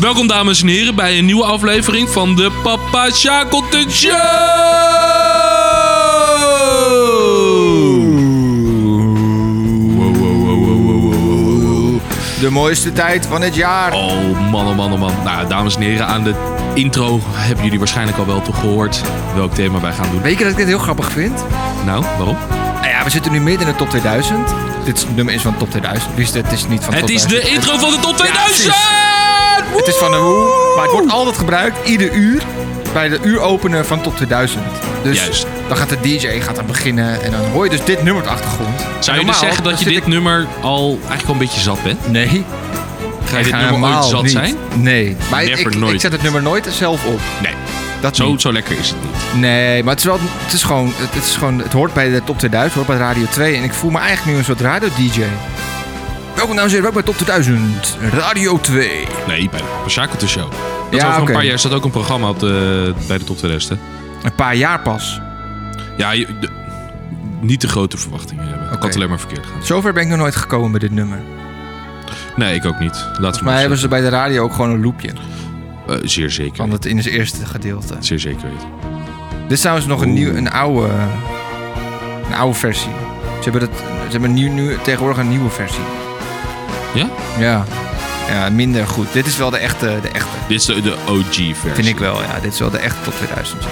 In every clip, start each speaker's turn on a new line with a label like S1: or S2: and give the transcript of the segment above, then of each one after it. S1: Welkom dames en heren bij een nieuwe aflevering van de Papa Shackleton Show!
S2: De mooiste tijd van het jaar.
S1: Oh man, oh man, oh man. Nou, dames en heren, aan de intro hebben jullie waarschijnlijk al wel toch gehoord welk thema wij gaan doen.
S2: Weet je dat ik dit heel grappig vind?
S1: Nou, waarom?
S2: Nou ja, we zitten nu midden in de top 2000. Dit is- nummer is van top 2000. Dus het is niet van
S1: Het
S2: top
S1: is de
S2: 2000.
S1: intro van de top 2000!
S2: Het is van de Woe. Maar het wordt altijd gebruikt, ieder uur, bij de uuropener van top 2000. Dus
S1: Juist.
S2: dan gaat de DJ gaat dan beginnen en dan hoor je dus dit nummer op de achtergrond.
S1: Zou je
S2: Normaal,
S1: dus zeggen
S2: dan
S1: dat je
S2: zit
S1: dit
S2: ik-
S1: nummer al eigenlijk al een beetje zat bent?
S2: Nee,
S1: Ga je
S2: ik
S1: dit nummer
S2: ga
S1: ooit
S2: helemaal
S1: zat
S2: niet.
S1: zijn?
S2: Nee. Maar ik,
S1: Never,
S2: ik-
S1: nooit.
S2: ik zet het nummer nooit zelf op.
S1: Nee,
S2: Dat
S1: zo,
S2: niet.
S1: zo lekker is het niet.
S2: Nee, maar het is wel, het is gewoon, het, het is gewoon, het hoort bij de top 2000, het hoort bij Radio 2 en ik voel me eigenlijk nu een soort radio-dj. Welkom dames en heren, welkom bij top 2000, Radio 2.
S1: Nee, bij de Papa Shackleton Show. Dat is
S2: Ja,
S1: over
S2: oké.
S1: een paar jaar staat ook een programma op de, bij de top 2000. hè?
S2: Een paar jaar pas.
S1: Ja, je- de- niet te grote verwachtingen hebben. Dat
S2: Oké.
S1: kan alleen maar verkeerd gaan.
S2: Zover ben ik nog nooit gekomen met dit nummer.
S1: Nee, ik ook niet. Laten we
S2: Volgens mij hebben ze bij de radio ook gewoon een loopje
S1: Eh, zeer zeker.
S2: van het in het eerste gedeelte.
S1: Zeer zeker weten.
S2: Dit is trouwens nog een,
S1: Oeh.
S2: nieuw, een, oude, een oude versie. Ze hebben, dat, ze hebben nieuw, nieuw, tegenwoordig een nieuwe versie.
S1: Ja?
S2: Ja. Ja, minder goed. Dit is wel de echte, de echte.
S1: Dit is de, de OG-versie.
S2: Vind ik wel, ja. Dit is wel de echte top 2000. ja.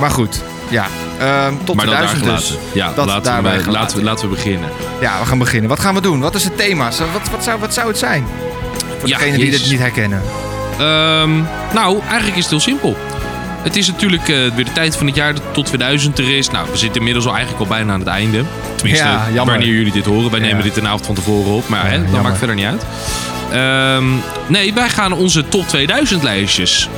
S2: Maar goed, ja. Ehm top
S1: Maar dat daar
S2: 2000 dus.
S1: gelaten. Ja,
S2: Dat
S1: laten, we,
S2: daarbij
S1: laten, we-
S2: gelaten.
S1: laten, we, beginnen.
S2: Ja, we gaan beginnen. Wat gaan we doen? Wat is het thema? Zo- Wat, wat, zou, wat zou het zijn? Voor
S1: Ja,
S2: degenen die
S1: jezus.
S2: dit niet herkennen.
S1: Ehm, nou, eigenlijk is het heel simpel. Het is natuurlijk eh, weer de tijd van het jaar dat tot 2000 er is. Nou, we zitten inmiddels al eigenlijk al bijna aan het einde. Tenminste,
S2: Ja, jammer.
S1: wanneer jullie dit horen. Wij
S2: Ja.
S1: nemen dit een avond van tevoren op, maar
S2: Ja,
S1: hè, dat
S2: jammer.
S1: maakt verder niet uit. Ehm, nee, wij gaan onze top 2000 lijstjes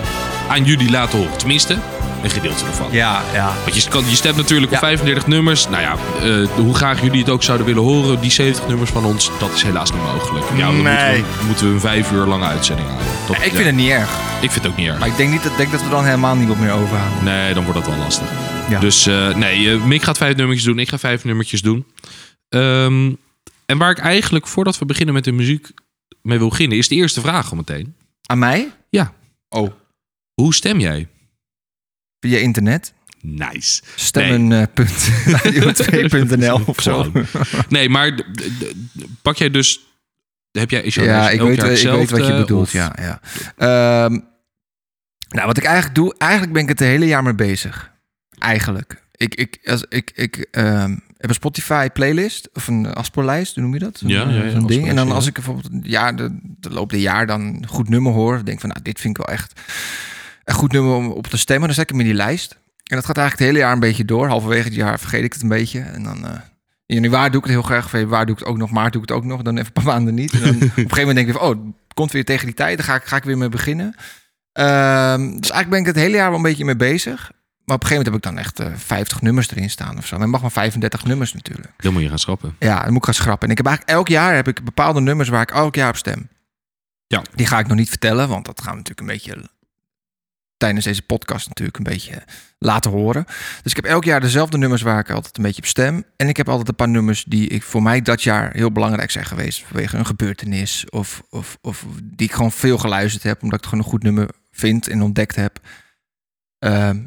S1: aan jullie laten horen. Tenminste, een gedeelte ervan.
S2: Ja, ja.
S1: Want je, kan, je stemt natuurlijk op
S2: Ja.
S1: 35 nummers. Nou ja, eh, hoe graag jullie het ook zouden willen horen, die 70 nummers van ons, dat is helaas niet mogelijk. Ja, dan moeten
S2: Nee.
S1: we, moeten we een vijf uur lange uitzending houden. Dat-
S2: ik
S1: ja,
S2: vind het niet erg.
S1: ik vind het ook niet erg.
S2: Maar ik denk, niet, dat- denk dat we dan helemaal niet op meer overhalen.
S1: Nee, dan wordt dat wel lastig.
S2: Ja.
S1: Dus eh, nee, eh, Mick gaat vijf nummertjes doen. Ik ga vijf nummertjes doen. Ehm, en waar ik eigenlijk, voordat we beginnen met de muziek, mee wil beginnen, is de eerste vraag al meteen.
S2: Aan mij?
S1: Ja.
S2: Oh.
S1: Hoe stem jij?
S2: Via internet? eh,
S1: Nice.
S2: Stemmen.radio2.nl of zo.
S1: Gewoon. Nee, maar d- d- d- pak jij dus... Heb jij, is jouw
S2: Ja,
S1: lijst
S2: ik
S1: elk
S2: weet,
S1: jaar
S2: ik weet wat je
S1: hetzelfde,
S2: bedoelt.
S1: of-
S2: Ja, ja. Ehm, nou, wat ik eigenlijk doe, eigenlijk ben ik het de hele jaar mee bezig. Eigenlijk. Ik, ik, als, ik, ik ehm, heb een Spotify playlist of een afspeellijst, hoe noem je dat? Zo'n-
S1: Ja, ja, ja,
S2: zo'n ding.
S1: afspeellijst,
S2: En dan
S1: ja.
S2: als ik bijvoorbeeld een jaar, de, de loop der jaar dan een goed nummer hoor, denk van, nou, dit vind ik wel echt een goed nummer om op te stemmen, dan zet ik hem in die lijst. En dat gaat eigenlijk het hele jaar een beetje door. Halverwege het jaar vergeet ik het een beetje. En dan eh, in januari doe ik het heel graag. Februari doe ik het ook nog. Maart doe ik het ook nog. Dan even een paar maanden niet. En dan op een gegeven moment denk ik van, oh, het komt weer tegen die tijd. Daar ga ik, ga ik weer mee beginnen. Ehm, dus eigenlijk ben ik het hele jaar wel een beetje mee bezig. Maar op een gegeven moment heb ik dan echt eh, 50 nummers erin staan of zo. Men mag maar 35 nummers natuurlijk.
S1: Dan moet je gaan schrappen.
S2: Ja, dan moet ik gaan schrappen. En ik heb eigenlijk elk jaar heb ik bepaalde nummers waar ik elk jaar op stem.
S1: Ja.
S2: Die ga ik nog niet vertellen, want dat gaan we natuurlijk een beetje tijdens deze podcast natuurlijk een beetje laten horen. Dus ik heb elk jaar dezelfde nummers waar ik altijd een beetje op stem. En ik heb altijd een paar nummers die ik voor mij dat jaar heel belangrijk zijn geweest vanwege een gebeurtenis of, of, of die ik gewoon veel geluisterd heb, omdat ik het gewoon een goed nummer vind en ontdekt heb. Ehm,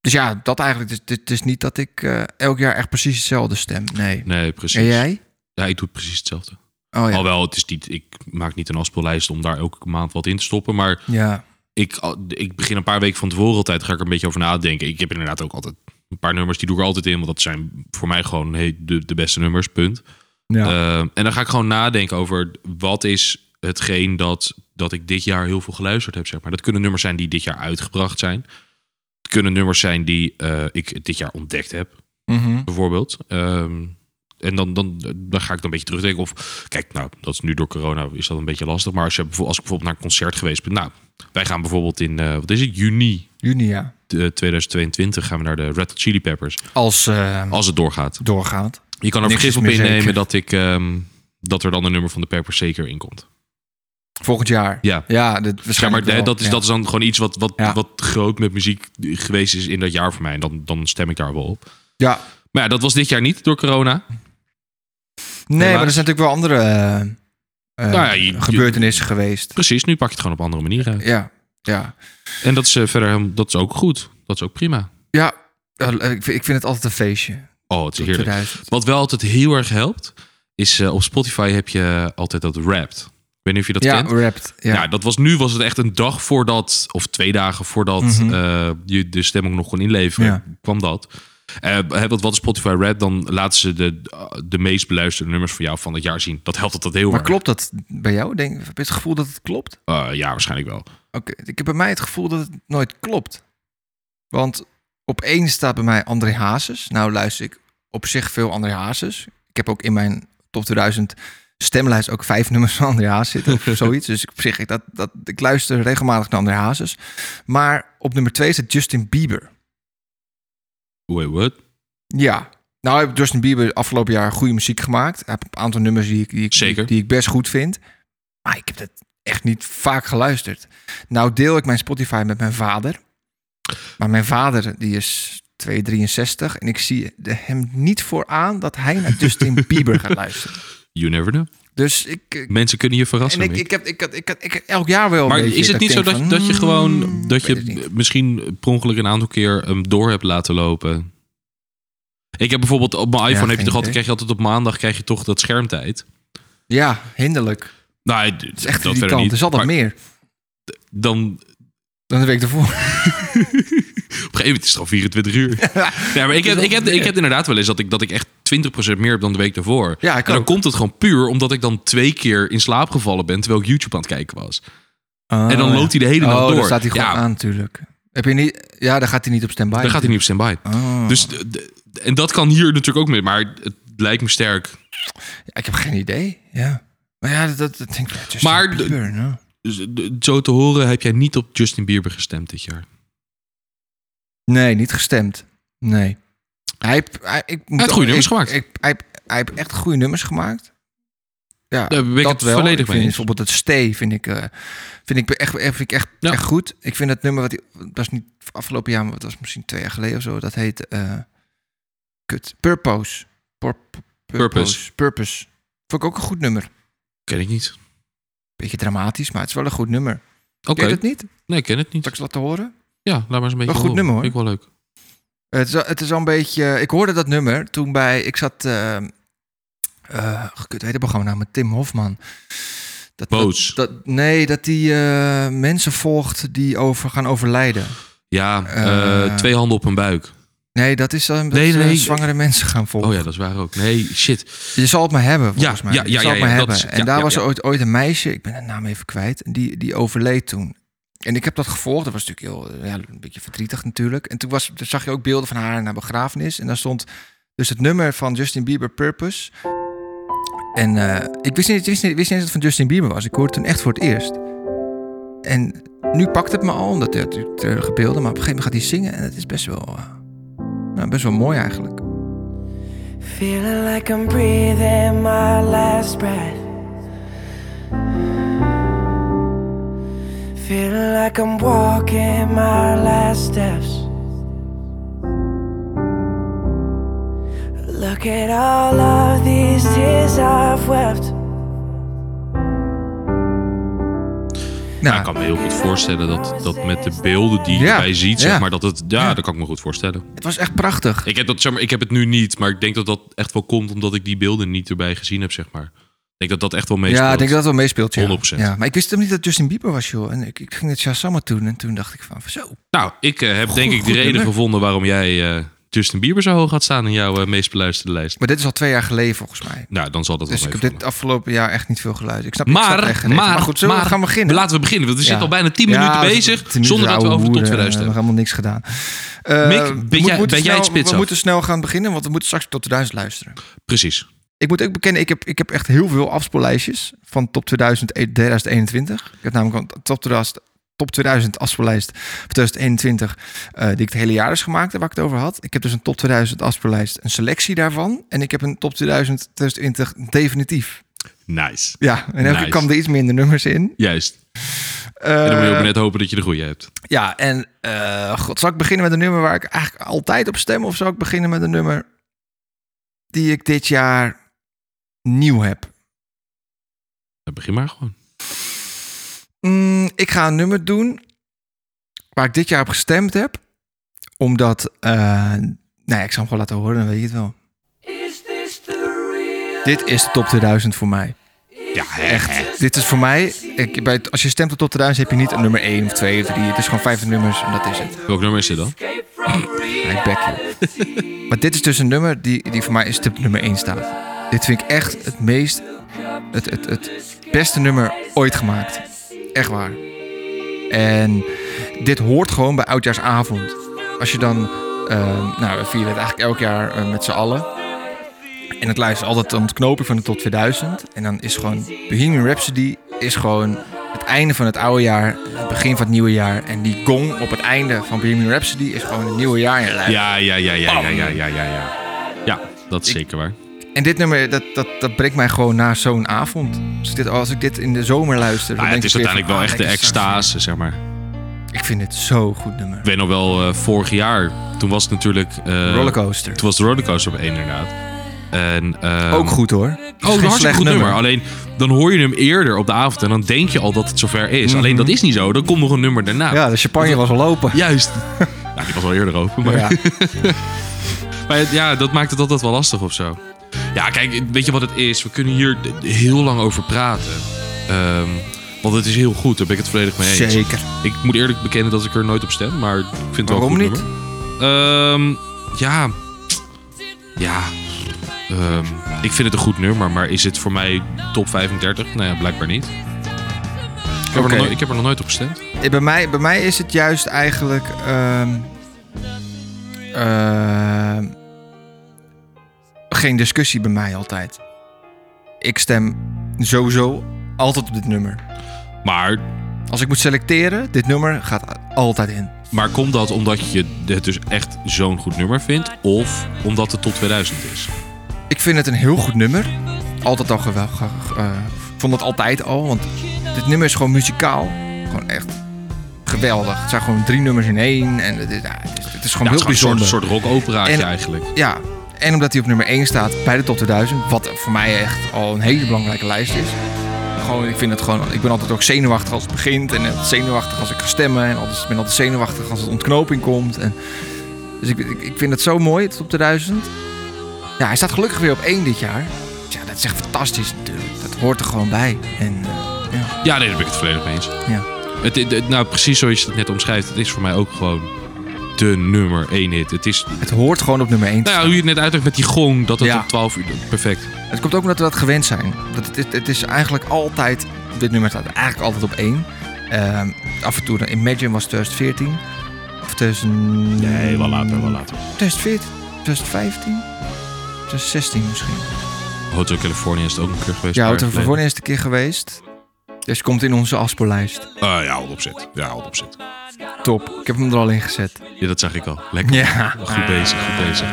S2: dus ja, dat eigenlijk. Het is, het is niet dat ik eh, elk jaar echt precies hetzelfde stem. Nee.
S1: Nee, precies.
S2: En jij?
S1: Ja, ik doe precies hetzelfde.
S2: Oh ja.
S1: Alhoewel, het is niet, ik maak niet een afspeellijst om daar elke maand wat in te stoppen. Maar
S2: Ja.
S1: ik, ik begin een paar weken van tevoren altijd, ga ik er een beetje over nadenken. Ik heb inderdaad ook altijd een paar nummers, die doe ik er altijd in. Want dat zijn voor mij gewoon hey, de, de beste nummers, punt.
S2: ja.
S1: Eh, en dan ga ik gewoon nadenken over wat is hetgeen dat, dat ik dit jaar heel veel geluisterd heb, zeg maar. Dat kunnen nummers zijn die dit jaar uitgebracht zijn. Het kunnen nummers zijn die eh, ik dit jaar ontdekt heb
S2: Mhm.
S1: bijvoorbeeld. Ehm, en dan, dan, dan ga ik dan een beetje terugdenken. Of kijk, nou, dat is nu door corona is dat een beetje lastig. Maar als, je, bijvoorbeeld- als ik bijvoorbeeld naar een concert geweest ben. Nou, wij gaan bijvoorbeeld in, eh, wat is het, juni
S2: Juni, ja.
S1: eh, 2022 gaan we naar de Red Hot Chili Peppers.
S2: Als eh,
S1: Als het doorgaat.
S2: doorgaat.
S1: Je kan er
S2: Niks
S1: vergif
S2: is
S1: op
S2: meer
S1: innemen
S2: zeker.
S1: dat, ik, ehm, dat er dan een nummer van de Peppers zeker in komt.
S2: Volgend jaar.
S1: Ja.
S2: Ja, dit,
S1: Ja, maar
S2: waarschijnlijk
S1: hè,
S2: wel.
S1: dat, is,
S2: Ja.
S1: dat is dan gewoon iets wat, wat,
S2: Ja.
S1: wat groot met muziek geweest is in dat jaar voor mij. En dan, dan stem ik daar wel op.
S2: Ja.
S1: Maar ja, dat was dit jaar niet door corona.
S2: Nee, maar er zijn natuurlijk wel andere eh, eh,
S1: Nou ja, je-
S2: gebeurtenissen geweest.
S1: Precies, nu pak je het gewoon op andere manieren uit.
S2: Ja, ja.
S1: En dat is eh, verder helemaal- dat is ook goed. Dat is ook prima.
S2: Ja, eh, ik vind- ik vind het altijd een feestje.
S1: Oh, het is
S2: tot
S1: heerlijk.
S2: 2000.
S1: Wat wel altijd heel erg helpt, is eh, op Spotify heb je altijd dat Wrapped. Ik weet niet of je dat
S2: Ja,
S1: kent.
S2: wrapped. Ja.
S1: Nou, dat was nu was het echt een dag voordat, of twee dagen voordat
S2: Mhm.
S1: eh, je de stemming nog kon inleveren,
S2: Ja.
S1: kwam dat. Eh, hè, wat, wat is Spotify Red? Dan laten ze de, de meest beluisterde nummers van jou van het jaar zien. Dat helpt altijd heel
S2: maar
S1: erg.
S2: klopt dat bij jou? Denk, heb je het gevoel dat het klopt?
S1: Eh, ja, waarschijnlijk wel.
S2: Oké, ik heb bij mij het gevoel dat het nooit klopt. Want op één staat bij mij André Hazes. Nou luister ik op zich veel André Hazes. Ik heb ook in mijn top 2000 stemlijst ook vijf nummers van André Hazes zitten of zoiets. Dus ik- op zich, ik, dat, dat, ik luister regelmatig naar André Hazes. Maar op nummer twee staat Justin Bieber.
S1: Wait, what?
S2: Ja. Nou, heeft Justin Bieber afgelopen jaar goede muziek gemaakt. Hij heeft een aantal nummers die ik, die ik,
S1: Zeker.
S2: Die ik best goed vind. Maar ik heb dat echt niet vaak geluisterd. Nou deel ik mijn Spotify met mijn vader. Maar mijn vader, die is 2,63. En ik zie de- hem niet vooraan dat hij naar Justin Bieber gaat luisteren.
S1: You never know.
S2: Dus ik... ik-
S1: Mensen kunnen je verrassen.
S2: en ik,
S1: Mick.
S2: ik, heb, ik, had- ik, had- ik, had elk jaar wel een
S1: maar
S2: beetje
S1: is het
S2: ik
S1: niet zo
S2: denk
S1: dat,
S2: van,
S1: dat je gewoon
S2: hmm,
S1: dat
S2: weet het
S1: je
S2: niet.
S1: misschien per ongeluk een aantal keer hem door hebt laten lopen? Ik heb bijvoorbeeld op mijn iPhone heb je
S2: geen
S1: toch altijd,
S2: idee.
S1: krijg je altijd op maandag krijg je toch dat schermtijd.
S2: Ja, hinderlijk. Het
S1: Nou, het
S2: is echt
S1: dat
S2: die
S1: verder
S2: kant.
S1: niet.
S2: Er is altijd
S1: Maar
S2: meer
S1: dan
S2: dan de week ervoor.
S1: Op een gegeven moment is het al 24 uur. ja, maar ik heb, ik, heb, ik heb inderdaad wel eens dat ik, dat ik echt 20% meer heb dan de week daarvoor.
S2: Ja, ik
S1: en dan
S2: ook.
S1: komt het gewoon puur omdat ik dan twee keer in slaap gevallen ben terwijl ik YouTube aan het kijken was. en dan
S2: Ah, ja.
S1: loopt hij de hele
S2: oh,
S1: nacht door.
S2: dan staat hij gewoon
S1: ja,
S2: aan natuurlijk. Heb je niet, ja, dan gaat hij niet op standby.
S1: dan gaat hij niet op standby.
S2: Oh.
S1: Dus, de- de- en dat kan hier natuurlijk ook mee, maar het lijkt me sterk.
S2: Ja, ik heb geen idee. Ja. Maar ja, dat, dat, dat denk ik. Justin
S1: Maar de-
S2: Bieber, nou.
S1: Dus, de- zo te horen heb jij niet op Justin Bieber gestemd dit jaar.
S2: Nee, niet gestemd. Nee. Hij heeft, hij, ik moet
S1: heeft goede nummers
S2: ik-
S1: gemaakt.
S2: ik- hij, heeft- hij heeft echt goede nummers gemaakt. Ja,
S1: Daar ben ik
S2: dat
S1: het
S2: wel.
S1: volledig mee
S2: ik vind
S1: eens.
S2: Bijvoorbeeld het Stee vind ik, eh, vind ik echt, echt, vind ik echt,
S1: Ja.
S2: echt goed. Ik vind dat nummer, wat hij- dat was niet afgelopen jaar, maar dat was misschien twee jaar geleden of zo. Dat heet, eh, kut, Purpose. Pur-
S1: Purpose.
S2: Purpose. Vond ik ook een goed nummer.
S1: Ken ik niet.
S2: Beetje dramatisch, maar het is wel een goed nummer.
S1: Oké,
S2: Ken je het niet?
S1: nee, ik ken het niet.
S2: Zal ik ze laten horen?
S1: Ja, laat maar eens een beetje
S2: goed
S1: horen.
S2: nummer, hoor.
S1: Vind ik wel leuk.
S2: Het is, al- het is al een beetje... Ik hoorde dat nummer toen bij... Ik zat... eh eh kut, weet het programma nou? Met Tim Hofman. Dat,
S1: Boos.
S2: Dat, dat- nee, dat hij eh, mensen volgt die over, gaan overlijden.
S1: Ja,
S2: Eh,
S1: eh, twee handen op een buik.
S2: Nee, dat is dan dat
S1: Nee,
S2: ze
S1: nee.
S2: zwangere mensen gaan volgen.
S1: Oh ja, dat is waar ook. Nee, shit.
S2: Je zal het maar hebben, volgens mij.
S1: ja,
S2: Je
S1: ja,
S2: zal
S1: ja,
S2: het maar
S1: ja, dat
S2: hebben.
S1: is-
S2: en
S1: ja,
S2: daar
S1: ja,
S2: was
S1: ja.
S2: ooit, ooit een meisje, ik ben haar naam even kwijt, die, die overleed toen. En ik heb dat gevolgd. Dat was natuurlijk heel, eh, ja, een beetje verdrietig natuurlijk. En toen, was, toen zag je ook beelden van haar naar begrafenis. En daar stond dus het nummer van Justin Bieber, Purpose. En eh, ik wist niet, wist, niet, wist niet eens dat het van Justin Bieber was. Ik hoorde het toen echt voor het eerst. En nu pakt het me al, omdat het natuurlijk treurige beelden. Maar op een gegeven moment gaat hij zingen. En het is best wel, eh, nou, best wel mooi eigenlijk.
S3: Feeling like I'm breathing my last breath. Feeling like I'm walking my last steps. Look at all of these tears I've wept.
S1: Nou, ik kan me heel goed voorstellen dat, dat met de beelden die je
S2: Ja,
S1: erbij ziet, zeg
S2: ja.
S1: maar, dat het... Ja,
S2: Ja.
S1: dat kan ik me goed voorstellen.
S2: het was echt prachtig.
S1: Ik heb, dat, zeg maar, ik heb het nu niet, maar ik denk dat dat echt wel komt omdat ik die beelden niet erbij gezien heb, zeg maar. Ik denk dat dat echt wel meespeelt.
S2: Ja, ik denk dat dat wel meespeelt. Ja.
S1: 100%.
S2: Ja, maar ik wist hem niet dat Justin Bieber was, joh. En ik, ik ging het Shazam toen en toen dacht ik van, zo.
S1: Nou, ik eh, heb denk ik
S2: goed
S1: de reden
S2: nummer.
S1: gevonden waarom jij eh, Justin Bieber zo hoog had staan in jouw eh, meest beluisterde lijst.
S2: Maar dit is al twee jaar geleden volgens mij.
S1: Nou, dan zal dat
S2: Dus
S1: wel
S2: ik heb
S1: meevallen.
S2: dit afgelopen jaar echt niet veel geluid. Ik snap, ik snap
S1: Maar,
S2: het echt
S1: maar,
S2: niet. maar goed, zullen we gaan beginnen?
S1: Laten we beginnen, want we
S2: Ja.
S1: zitten al bijna 10
S2: Ja,
S1: minuten
S2: we
S1: bezig
S2: zitten tien
S1: zonder dat
S2: minuten
S1: we over de top
S2: ouwe
S1: 2000
S2: hoeren. eh.
S1: hebben.
S2: We hebben helemaal niks gedaan. Eh,
S1: Mick,
S2: we
S1: ben jij-
S2: moeten
S1: ben jij
S2: snel-
S1: het spits
S2: We
S1: af?
S2: moeten snel gaan beginnen, want we moeten straks tot de duizend luisteren.
S1: Precies.
S2: Ik moet ook bekennen, ik heb, ik heb echt heel veel afspeellijstjes van top 2000, 2021. Ik heb namelijk een top 2000, top 2000 afspeellijst van 2021, eh, die ik het hele jaar is gemaakt, waar ik het over had. Ik heb dus een top 2000 afspeellijst, een selectie daarvan. En ik heb een top 2000, 2020 definitief.
S1: Nice.
S2: Ja, en elke
S1: Nice.
S2: keer kwam er iets minder nummers in.
S1: Juist.
S2: Eh,
S1: En dan moet je ook net hopen dat je de goede hebt.
S2: ja, en eh, god, zal ik beginnen met een nummer waar ik eigenlijk altijd op stem? Of zal ik beginnen met een nummer die ik dit jaar nieuw heb?
S1: Nou, Begin maar gewoon.
S2: Mm, ik ga een nummer doen waar ik dit jaar op gestemd heb. Omdat, eh, nou ja, ik zal hem gewoon laten horen, dan weet je het wel. Dit is de top 2000 voor mij.
S1: Ja, echt.
S2: Echt. Dit is voor mij, ik, bij het- als je stemt op top 2000 heb je niet een nummer 1 of 2 of 3. Het is gewoon 50 nummers en dat is het.
S1: Welk nummer is dit dan?
S2: I back you. maar dit is dus een nummer die, die voor mij is tip nummer 1 staat. Dit vind ik echt het meest, het, het, het beste nummer ooit gemaakt. Echt waar. En dit hoort gewoon bij Oudjaarsavond. Als je dan, eh, nou we vieren het eigenlijk elk jaar eh, met z'n allen. En het luistert altijd een ontknoping van de tot 2000. En dan is gewoon Bohemian Rhapsody is gewoon het einde van het oude jaar, het begin van het nieuwe jaar. En die gong op het einde van Bohemian Rhapsody is gewoon het nieuwe jaar. Ja,
S1: Ja, ja, ja, ja, ja, ja, ja, ja, ja. Ja, dat is
S2: Ik-
S1: zeker waar.
S2: En dit nummer, dat, dat, dat brengt mij gewoon na zo'n avond. Als ik, dit, als ik dit in de zomer luister, dan
S1: Nou, ja,
S2: denk
S1: het is
S2: ik weer
S1: uiteindelijk
S2: van,
S1: wel
S2: ah,
S1: echt de
S2: lekker straks
S1: extase, zeg maar.
S2: weer. Ik vind dit zo'n goed nummer.
S1: Ik weet nog wel, eh, vorig jaar, toen was het natuurlijk... eh,
S2: Rollercoaster.
S1: Toen was de rollercoaster op één, inderdaad. En, ehm,
S2: Ook goed hoor. Het is
S1: Oh,
S2: geen
S1: een
S2: slecht
S1: hartstikke goed nummer. Alleen, dan hoor je hem eerder op de avond en dan denk je al dat het zover is.
S2: Mhm.
S1: Alleen, dat is niet zo. Dan komt nog een nummer daarna.
S2: Ja, de champagne was al open.
S1: Juist. nou, die was al eerder open, maar...
S2: Ja.
S1: Maar het- ja, dat maakt het altijd wel lastig of zo. Ja, kijk, weet je wat het is? We kunnen hier d- heel lang over praten. Ehm, want het is heel goed, daar ben ik het volledig mee eens.
S2: Zeker.
S1: Ik moet eerlijk bekennen dat ik er nooit op stem, maar ik vind het wel
S2: Waarom
S1: een goed
S2: niet?
S1: nummer. Ehm, ja. Ja. Ehm, ik vind het een goed nummer, maar is het voor mij top 35? Nou ja, blijkbaar niet. Ik heb, er,
S2: Oké.
S1: nog nooit, ik heb er nog nooit op gestemd.
S2: Eh, Bij mij, bij mij is het juist eigenlijk. ehm, ehm, geen discussie bij mij altijd. Ik stem sowieso altijd op dit nummer.
S1: Maar,
S2: Als ik moet selecteren, dit nummer gaat altijd in.
S1: maar komt dat omdat je het dus echt zo'n goed nummer vindt? Of omdat het tot 2000 is?
S2: Nou, Ik vind het een heel goed nummer. Altijd al geweldig. eh, vond het altijd al, want dit nummer is gewoon muzikaal. Gewoon echt geweldig. Het zijn gewoon drie nummers in één. En het is, ja, het is, het is gewoon
S1: Ja, Nou, het is
S2: heel
S1: gewoon
S2: bijzonder.
S1: Een soort, soort rockoperaatje
S2: En-
S1: eigenlijk.
S2: Ja, en omdat hij op nummer 1 staat bij de top 2000, wat voor mij echt al een hele belangrijke lijst is. Gewoon, ik vind het gewoon, ik ben altijd ook zenuwachtig als het begint en eh, zenuwachtig als ik ga stemmen en altijd, ik ben altijd zenuwachtig als het ontknoping komt. En, dus ik, ik, ik vind het zo mooi, de top 2000. Ja, hij staat gelukkig weer op 1 dit jaar. Dus ja, dat is echt fantastisch natuurlijk. Dat hoort er gewoon bij. En eh, ja,
S1: Ja, nee, daar ben ik het volledig mee eens.
S2: Ja.
S1: Het, het- het- nou, precies zoals je het net omschrijft, het is voor mij ook gewoon de nummer 1 hit. Het is,
S2: het hoort gewoon op nummer 1 te
S1: nou ja,
S2: staan.
S1: hoe je het net uitlegt met die gong, dat het
S2: Ja.
S1: om 12 uur, perfect.
S2: Het komt ook omdat we dat gewend zijn. Dat het, is- het is eigenlijk altijd, dit nummer staat eigenlijk altijd op één. Ehm, af en toe, dan Imagine was 2014. Of 2000...
S1: later.
S2: 2014, 2015, 2016 misschien.
S1: Hotel California is het ook een keer geweest.
S2: Ja,
S1: een
S2: het
S1: paar
S2: is
S1: jaar
S2: voor de eerste keer geweest. Dus komt in onze afspeellijst.
S1: geleden. Eh, ja, hold op zit. Ja, hold op zit.
S2: Top. Ik heb hem er al in gezet.
S1: Ja, dat zag ik al. Lekker.
S2: Ja. Nou,
S1: Goed bezig, goed bezig.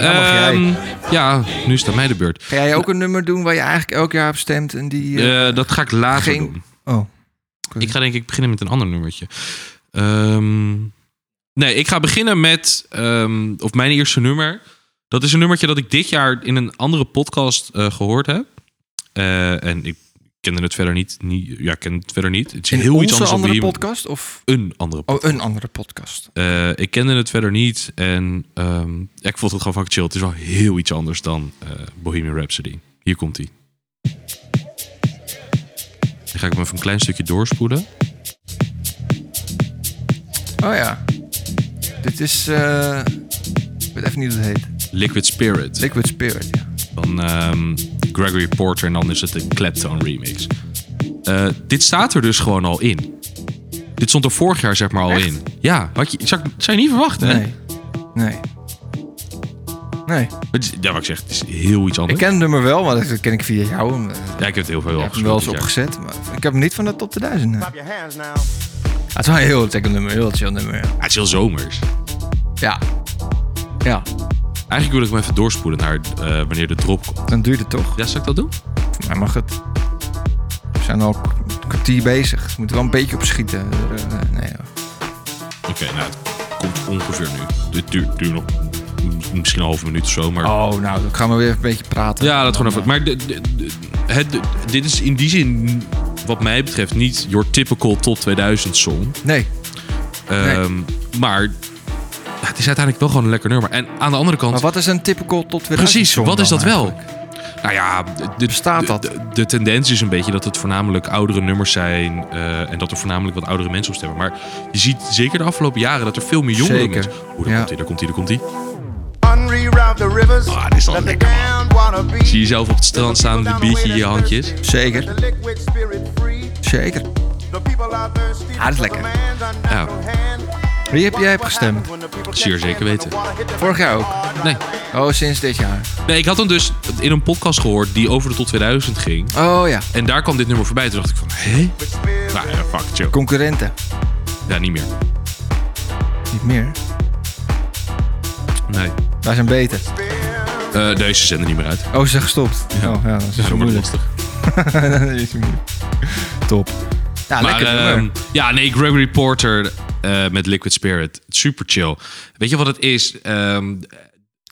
S2: mag jij.
S1: Ehm, ja, nu staat mij de beurt.
S2: Ga jij ook een nummer doen waar je eigenlijk elk jaar op stemt en die... eh,
S1: Eh, dat ga ik later
S2: Geen-
S1: doen.
S2: Oh.
S1: Ik ga denk ik beginnen met een ander nummertje. Ehm, nee, ik ga beginnen met... ehm, of mijn eerste nummer. Dat is een nummertje dat ik dit jaar in een andere podcast eh, gehoord heb. Eh, en ik kende het verder niet. niet ja, ik ken het verder niet. Het is
S2: In
S1: heel iets
S2: onze
S1: anders dan
S2: andere
S1: Bohemian-
S2: podcast? Of...
S1: Een andere
S2: Oh,
S1: podcast.
S2: een andere podcast.
S1: Eh, ik kende het verder niet. En ehm, ja, ik vond het gewoon vaak chill. Het is wel heel iets anders dan eh, Bohemian Rhapsody. Hier komt hij. Dan ga ik hem even een klein stukje doorspoelen.
S2: Oh ja. Dit is. eh, ik weet even niet hoe het heet.
S1: Liquid Spirit.
S2: Liquid Spirit. Ja.
S1: van ehm, Gregory Porter en dan is het de Clapton remix. Eh, dit staat er dus gewoon al in. Dit stond er vorig jaar zeg maar al
S2: Echt?
S1: in. Ja, had je, zou, ik- zou je niet verwachten. Hè?
S2: Nee. Nee. Nee.
S1: Het is- ja, wat ik zeg, het is heel iets
S2: Ik
S1: anders.
S2: ken het nummer wel, maar dat ken ik via jou. eh, Ik
S1: ja, ik heb het heel veel al
S2: heb hem wel eens
S1: gespeeld dit jaar.
S2: opgezet, maar ik heb hem niet van de top 2000. nee.
S4: Clap your hands now.
S2: Ja, het is wel een heel lekker nummer, heel chill nummer. ja.
S1: Ja, Ah, het is heel zomers.
S2: Ja. Ja,
S1: Eigenlijk wil ik hem even doorspoelen naar eh, wanneer de drop komt.
S2: dan duurt het toch.
S1: Ja, zou ik dat doen?
S2: Maar mag het. We zijn al een kwartier bezig. We moeten wel een beetje opschieten. Eh, nee, hoor.
S1: Oké, nou, het komt ongeveer nu. Dit duurt, duurt nog m- misschien een halve minuut of zo. Maar
S2: Oh, nou, dan gaan we weer een beetje praten.
S1: ja, dat gewoon
S2: Dan,
S1: even. Maar de- de- de- het, de- dit is in die zin, wat mij betreft, niet your typical top 2000 song.
S2: eh, Nee,
S1: Ehm, Maar ja, het is uiteindelijk wel gewoon een lekker nummer. En aan de andere kant,
S2: maar wat is een typical tot weer
S1: precies, wat is dat wel? Nou ja, de,
S2: Bestaat dat?
S1: De, de tendens is een beetje dat het voornamelijk oudere nummers zijn. eh, en dat er voornamelijk wat oudere mensen op stemmen. Maar je ziet zeker de afgelopen jaren dat er veel meer jongeren
S2: Zeker,
S1: mensen... Oeh, daar
S2: ja.
S1: komt hij, daar komt hij, daar komt hij.
S4: Unreroute the rivers.
S1: Ah, dit is al
S4: Let the
S1: lekker, man.
S4: groundwater be.
S1: Zie jezelf op het strand staan met een biertje in je handjes.
S2: Zeker.
S4: Let the liquid spirit free.
S2: Zeker.
S4: The people are
S2: Ah,
S4: thirsty
S2: dat is
S4: for
S2: lekker.
S4: the man's unnatural hand.
S2: Wie heb jij hebt gestemd?
S1: Zeer zeker weten.
S2: Vorig jaar ook?
S1: Nee.
S2: Oh, sinds dit jaar.
S1: Nee, ik had hem dus in een podcast gehoord die over de tot 2000 ging.
S2: Oh ja,
S1: En daar kwam dit nummer voorbij. Toen dacht ik van, hé? Nou ja, fuck, chill.
S2: concurrenten.
S1: Ja, niet meer.
S2: Niet meer.
S1: Nee.
S2: Wij zijn beter.
S1: Eh deze zenden niet meer uit.
S2: Oh, ze zijn gestopt.
S1: Ja.
S2: Oh, ja, dat is
S1: Ja,
S2: zo
S1: wordt
S2: moeilijk.
S1: lastig.
S2: dat is zo moeilijk. Top. Ja,
S1: Maar
S2: Ah, lekker
S1: ehm,
S2: nummer.
S1: ja, nee, Gregory Porter eh, met Liquid Spirit. Super chill. Weet je wat het is? Ehm,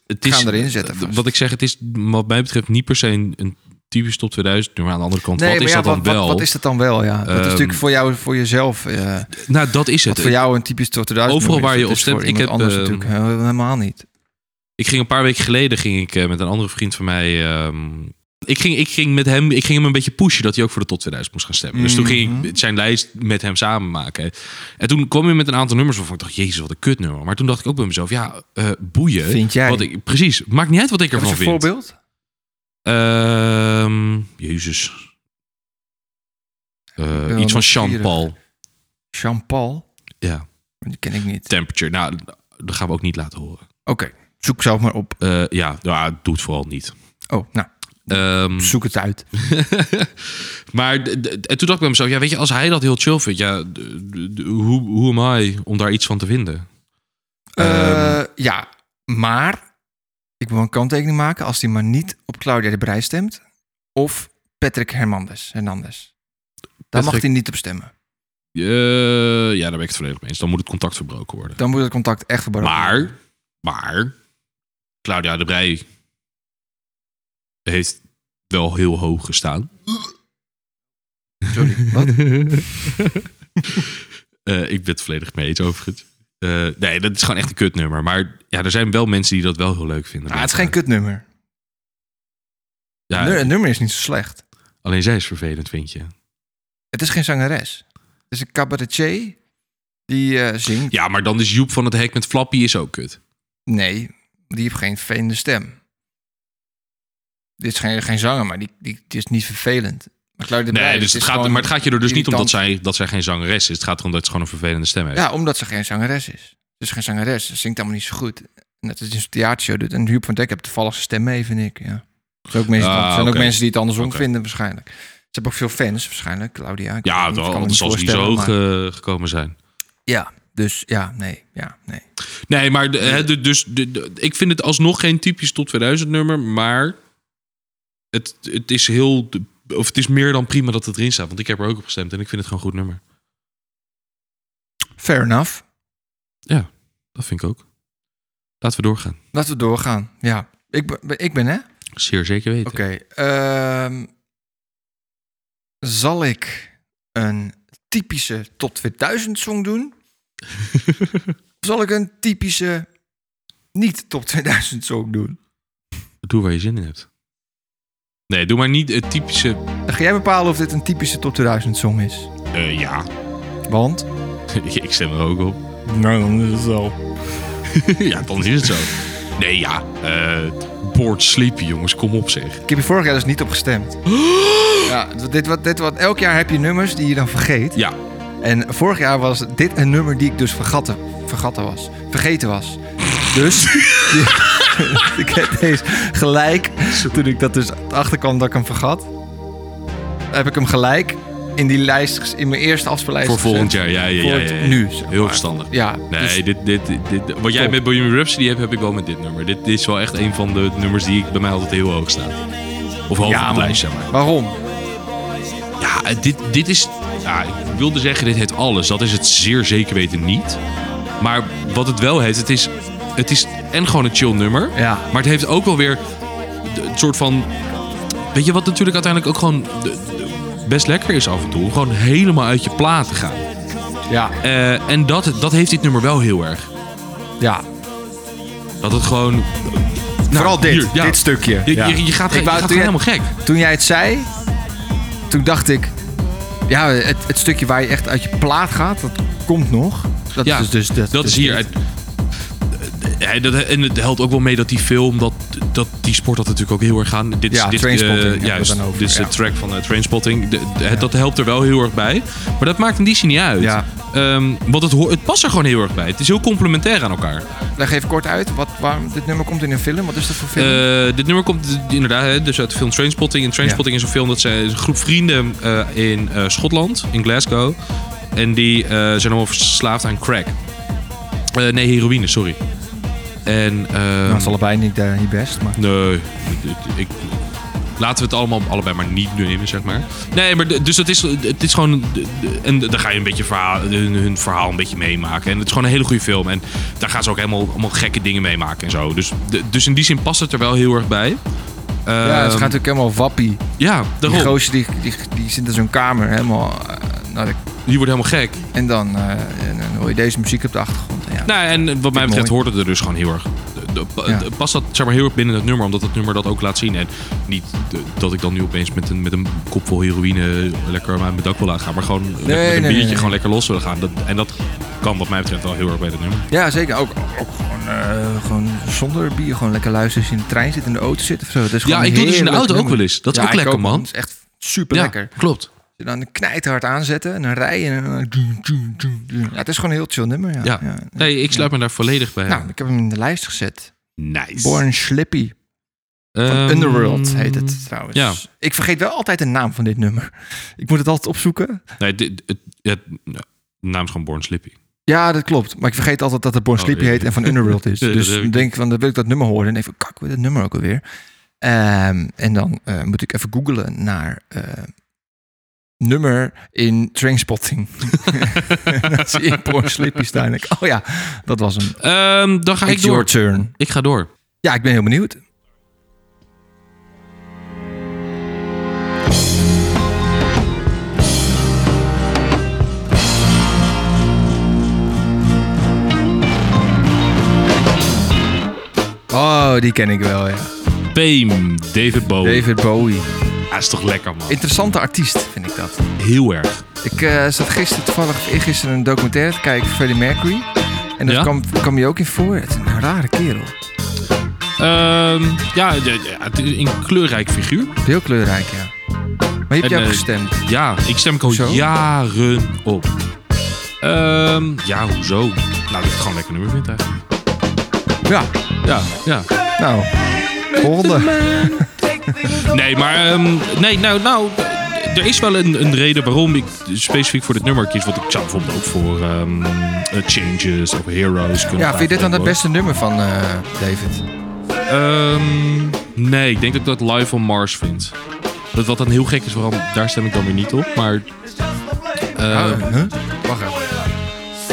S1: het is eh,
S2: Ga hem erin zetten vast.
S1: Wat ik zeg, het is wat mij betreft niet per se een, een typisch top 2000 nummer. Aan de andere kant,
S2: Nee,
S1: wat
S2: maar
S1: is
S2: ja,
S1: dat dan
S2: wat,
S1: wel?
S2: Wat, wat is dat dan wel, ja? dat is
S1: Ehm,
S2: natuurlijk voor, jou, voor jezelf. eh,
S1: Nou, dat is het.
S2: wat voor jou een typisch tot
S1: Overal waar je op stemt, ik heb,
S2: anders
S1: ehm,
S2: natuurlijk eh, helemaal niet.
S1: Ik ging een paar weken geleden ging ik, eh, met een andere vriend van mij. ehm, ik, ging, ik, ging met hem, ik ging hem een beetje pushen dat hij ook voor de top 2000 moest gaan stemmen. Dus toen ging
S2: Mhm.
S1: ik zijn lijst met hem samen maken. En toen kwam hij met een aantal nummers waarvan ik dacht: Jezus, wat een kutnummer. Maar toen dacht ik ook bij mezelf: Ja, eh, boeien.
S2: Vind jij?
S1: Wat ik, precies. Maakt niet uit wat ik
S2: Heb je
S1: ervan
S2: een
S1: vind.
S2: voorbeeld?
S1: Ehm, Jezus. Eh,
S2: wel
S1: iets van
S2: nieuwsgierig.
S1: Sean Paul.
S2: Jean-Paul?
S1: Ja.
S2: Die ken ik niet.
S1: Temperature. Nou, dat gaan we ook niet laten horen.
S2: Oké, zoek zelf maar op.
S1: Eh, ja, nou, doe het vooral niet.
S2: Oh, nou,
S1: Ehm,
S2: zoek het uit.
S1: maar d- d- en toen dacht ik bij mezelf, ja, weet je, als hij dat heel chill vindt, ja, d- d- d- hoe, hoe am I om daar iets van te vinden? Ehm.
S2: Eh, ja, maar ik wil een kanttekening maken als die maar niet op Claudia de Brij stemt of Patrick Hernandez. Hernandez. Daar mag
S1: Patrick-
S2: hij niet op stemmen.
S1: Eh, ja, daar ben ik het volledig mee eens. Dan moet het contact verbroken worden.
S2: Dan moet het contact echt verbroken worden.
S1: Maar, maar, Claudia de Brij heeft wel heel hoog gestaan.
S2: Sorry, wat?
S1: Eh, ik ben het volledig mee eens overigens. Eh, nee, dat is gewoon echt een kutnummer. Maar ja, er zijn wel mensen die dat wel heel leuk vinden.
S2: Ah, het is geen kutnummer.
S1: Ja,
S2: Het nummer is niet zo slecht.
S1: Alleen zij is vervelend, vind je.
S2: Het is geen zangeres. Het is een cabaretier die eh, zingt.
S1: Ja, maar dan is Joep van het Hek met Flappy is ook kut.
S2: Nee, die heeft geen vervelende stem. Dit is geen, geen zanger, maar die, die, die is niet vervelend. Maar Claudia de
S1: Nee,
S2: Brij,
S1: dus
S2: is
S1: het gaat,
S2: gewoon
S1: maar het gaat je er dus niet om dat
S2: irritant.
S1: zij, dat zij geen zangeres is. Het gaat erom dat ze gewoon een vervelende stem heeft.
S2: Ja, omdat ze geen zangeres is. Ze is geen zangeres. Ze zingt allemaal niet zo goed. En dat is in zo'n theatershow doet. En Huub van Dijk heeft toevallig zijn stem mee, vind ik. Ja. Er zijn ook mensen,
S1: Ah,
S2: er zijn
S1: oké.
S2: ook mensen die het andersom
S1: Oké.
S2: vinden waarschijnlijk. Ze hebben ook veel fans waarschijnlijk, Claudia. Ik
S1: Ja,
S2: weet niet,
S1: wel,
S2: ik kan me
S1: anders zal ze niet zo
S2: voorstellen,
S1: hoog
S2: maar-
S1: eh, gekomen zijn.
S2: Ja, dus ja, nee. Ja, nee.
S1: Nee, maar de- hè, de- dus, de- de- ik vind het alsnog geen typisch tot 2000 nummer. Maar het, het is heel... Of het is meer dan prima dat het erin staat. Want ik heb er ook op gestemd en ik vind het gewoon een goed nummer.
S2: Fair enough.
S1: Ja, dat vind ik ook. Laten we doorgaan.
S2: Laten we doorgaan. Ja, ik, ben- ik ben hè.
S1: Zeer zeker weten.
S2: Oké. ehm, zal ik een typische tot 2000 song doen? of zal ik een typische niet tot 2000 song doen?
S1: Doe waar je zin in hebt. Nee, doe maar niet het typische...
S2: Dan ga jij bepalen of dit een typische top 2000 song is.
S1: eh, ja,
S2: Want?
S1: ik stem er ook op.
S2: Nou, dan is het zo.
S1: ja, dan is het zo. Nee, ja. eh bored sleepy, jongens. Kom op, zeg.
S2: Ik heb je vorig jaar dus niet op gestemd. ja, dit, wat, dit wat, elk jaar heb je nummers die je dan vergeet.
S1: Ja.
S2: En vorig jaar was dit een nummer die ik dus vergatte, vergatten was. Vergeten was. Dus ik heb deze gelijk. Toen ik dat dus achterkwam dat ik hem vergat. Heb ik hem gelijk in die lijst, ges- in mijn eerste afspeellijst.
S1: Voor volgend jaar.
S2: gezet.
S1: Ja, ja, ja.
S2: Voor
S1: ja, ja.
S2: het nu, zeg
S1: Heel
S2: maar.
S1: verstandig.
S2: Ja,
S1: Nee,
S2: dus-
S1: dit, dit, dit, dit- wat jij
S2: Top.
S1: met Bohemian Rhapsody hebt, heb ik wel met dit nummer. Dit, dit is wel echt een van de nummers die ik bij mij altijd heel hoog staat. Of hoog op
S2: ja,
S1: het
S2: man.
S1: lijst, zeg maar.
S2: Waarom?
S1: Ja, eh, dit, dit is... Ja, ik wilde zeggen, dit heeft alles. Dat is het zeer zeker weten niet. Maar wat het wel heeft, het is... Het is en gewoon een chill nummer.
S2: Ja.
S1: Maar het heeft ook wel weer de- een soort van... Weet je wat natuurlijk uiteindelijk ook gewoon de- de- best lekker is af en toe? Om Gewoon helemaal uit je plaat te gaan.
S2: Ja.
S1: Eh, en dat, dat heeft dit nummer wel heel erg.
S2: ja.
S1: Dat het gewoon... nou,
S2: Vooral dit.
S1: hier, ja.
S2: Dit stukje.
S1: Je,
S2: Nou, Ja.
S1: je, je gaat,
S2: Ik
S1: je
S2: wou-
S1: gaat
S2: toen
S1: gewoon helemaal
S2: jij-
S1: gek.
S2: Toen jij het zei, toen dacht ik... Ja, het, het stukje waar je echt uit je plaat gaat, dat komt nog. Dat
S1: Ja,
S2: is dus... Dat,
S1: dat
S2: dus
S1: is hier.
S2: dit.
S1: Eh, eh, dat- En het helpt ook wel mee dat die film, dat, dat, die sport had natuurlijk ook heel erg aan. Dit, is-
S2: Ja,
S1: dit, eh,
S2: Trainspotting hebben we
S1: juist,
S2: het dan over,
S1: dit is
S2: ja.
S1: de track van eh, Trainspotting. De- de- het- Dat helpt er wel heel erg bij. Maar dat maakt in die zin niet uit.
S2: Ja.
S1: Ehm, want het, ho- het past er gewoon heel erg bij. Het is heel complementair aan elkaar.
S2: Leg even kort uit, wat, waarom dit nummer komt in een film. Wat is dat voor film?
S1: Eh, dit nummer komt eh, inderdaad hè, dus uit de film Trainspotting. En Trainspotting is een film dat zijn is een groep vrienden eh, in eh, Schotland, in Glasgow. En die eh, zijn allemaal verslaafd aan crack. Eh, nee, heroïne, sorry. En, ehm,
S2: dat is allebei niet, eh, niet best, maar...
S1: Nee, ik- ik, laten we het allemaal allebei maar niet nemen, zeg maar. Nee, maar de- dus het is, het is gewoon... de- de- En daar ga je een beetje verhaal, hun, hun verhaal een beetje meemaken. En het is gewoon een hele goede film. En daar gaan ze ook helemaal, allemaal gekke dingen meemaken en zo. Dus, de- dus in die zin past het er wel heel erg bij.
S2: ja, het
S1: Ehm,
S2: gaat natuurlijk helemaal wappie.
S1: ja,
S2: Die
S1: daarom.
S2: gozer die, die, die zit in zo'n kamer helemaal... eh, nou, de-
S1: Die wordt helemaal gek.
S2: en dan, eh, en dan hoor je deze muziek op de achtergrond. Ja,
S1: Nou, en wat mij betreft
S2: mooi.
S1: hoort het er dus gewoon heel erg. de- de- pa-
S2: Ja.
S1: de- Past dat zeg maar, heel erg binnen het nummer, omdat het nummer dat ook laat zien. En niet de- dat ik dan nu opeens met een, met een kop vol heroïne lekker aan mijn dak wil laten gaan. Maar gewoon met- met een
S2: nee, nee,
S1: biertje
S2: nee.
S1: gewoon lekker los willen gaan. Dat, en dat kan wat mij betreft wel heel erg bij dit nummer.
S2: ja zeker. Ook, ook gewoon, eh, gewoon zonder bier. Gewoon lekker luisteren als je in de trein zit, in de auto zit of zo. Dat is gewoon
S1: Ja, ik doe dus in de
S2: heerlijk
S1: auto ook
S2: nummer.
S1: wel eens. Dat is
S2: Ja,
S1: ook
S2: ik
S1: lekker, man.
S2: Dat is echt super lekker.
S1: Ja, klopt.
S2: Je dan knijterhard aanzetten en dan rijden. En dan... eh, Ja, het is gewoon een heel chill nummer. Ja.
S1: Ja.
S2: Ja.
S1: Nee, ik sluit me daar volledig bij.
S2: Nou, ik heb hem in de lijst gezet.
S1: nice.
S2: Born Slippy van
S1: Ehm,
S2: Underworld heet het trouwens.
S1: ja.
S2: Ik vergeet wel altijd de naam van dit nummer. Ik moet het altijd opzoeken.
S1: Nee, dit- het, het, nou, de naam is gewoon Born Slippy.
S2: Ja, dat klopt. Maar ik vergeet altijd dat het Born
S1: Oh,
S2: Sleepy
S1: ja.
S2: heet en van Underworld is.
S1: Ja, dat
S2: dus
S1: heb ik.
S2: dan denk ik van, dan wil ik dat nummer horen. En even, kak, hoe heet dat nummer ook alweer? Ehm, en dan eh, moet ik even googlen naar eh, nummer in Trainspotting. en dan zie ik Born Sleepy staan. En ik, oh ja, dat was hem.
S1: Ehm, dan ga ik
S2: It's your
S1: door.
S2: turn.
S1: Ik ga door.
S2: Ja, ik ben heel benieuwd. Oh, die ken ik wel, ja.
S1: Oh. Pam, David Bowie.
S2: David Bowie.
S1: Hij is toch lekker, man.
S2: Interessante artiest, vind ik dat.
S1: Heel erg.
S2: Ik eh, zat gisteren toevallig eh, gisteren een documentaire te kijken van Freddie Mercury. En daar
S1: Ja?
S2: kwam, kwam je ook in voor. Het is een rare kerel.
S1: Ehm, ja, ja, ja, het is een kleurrijk figuur.
S2: Heel kleurrijk, ja. Maar je hebt
S1: En,
S2: je ook
S1: eh,
S2: gestemd.
S1: Ja, ik stem ik al
S2: Hoezo?
S1: jaren op. Ehm, ja, hoezo? Nou, dat ik het gewoon een lekker nummer vind eigenlijk.
S2: Ja,
S1: Ja, ja.
S2: nou. Volgende.
S1: Nee, maar... ehm, nee, nou, nou... d- Er is wel een, een reden waarom ik specifiek voor dit nummer kies. Want ik zou bijvoorbeeld ook voor ehm, eh, Changes of Heroes kunnen
S2: Ja, vind je dit dan het
S1: het
S2: beste nummer van eh,
S1: Oh.
S2: David?
S1: Ehm, nee, ik denk dat ik dat Live on Mars vind. Dat wat dan heel gek is, waarom, daar stem ik dan weer niet op. Maar... eh,
S2: Oh, huh? Wacht even.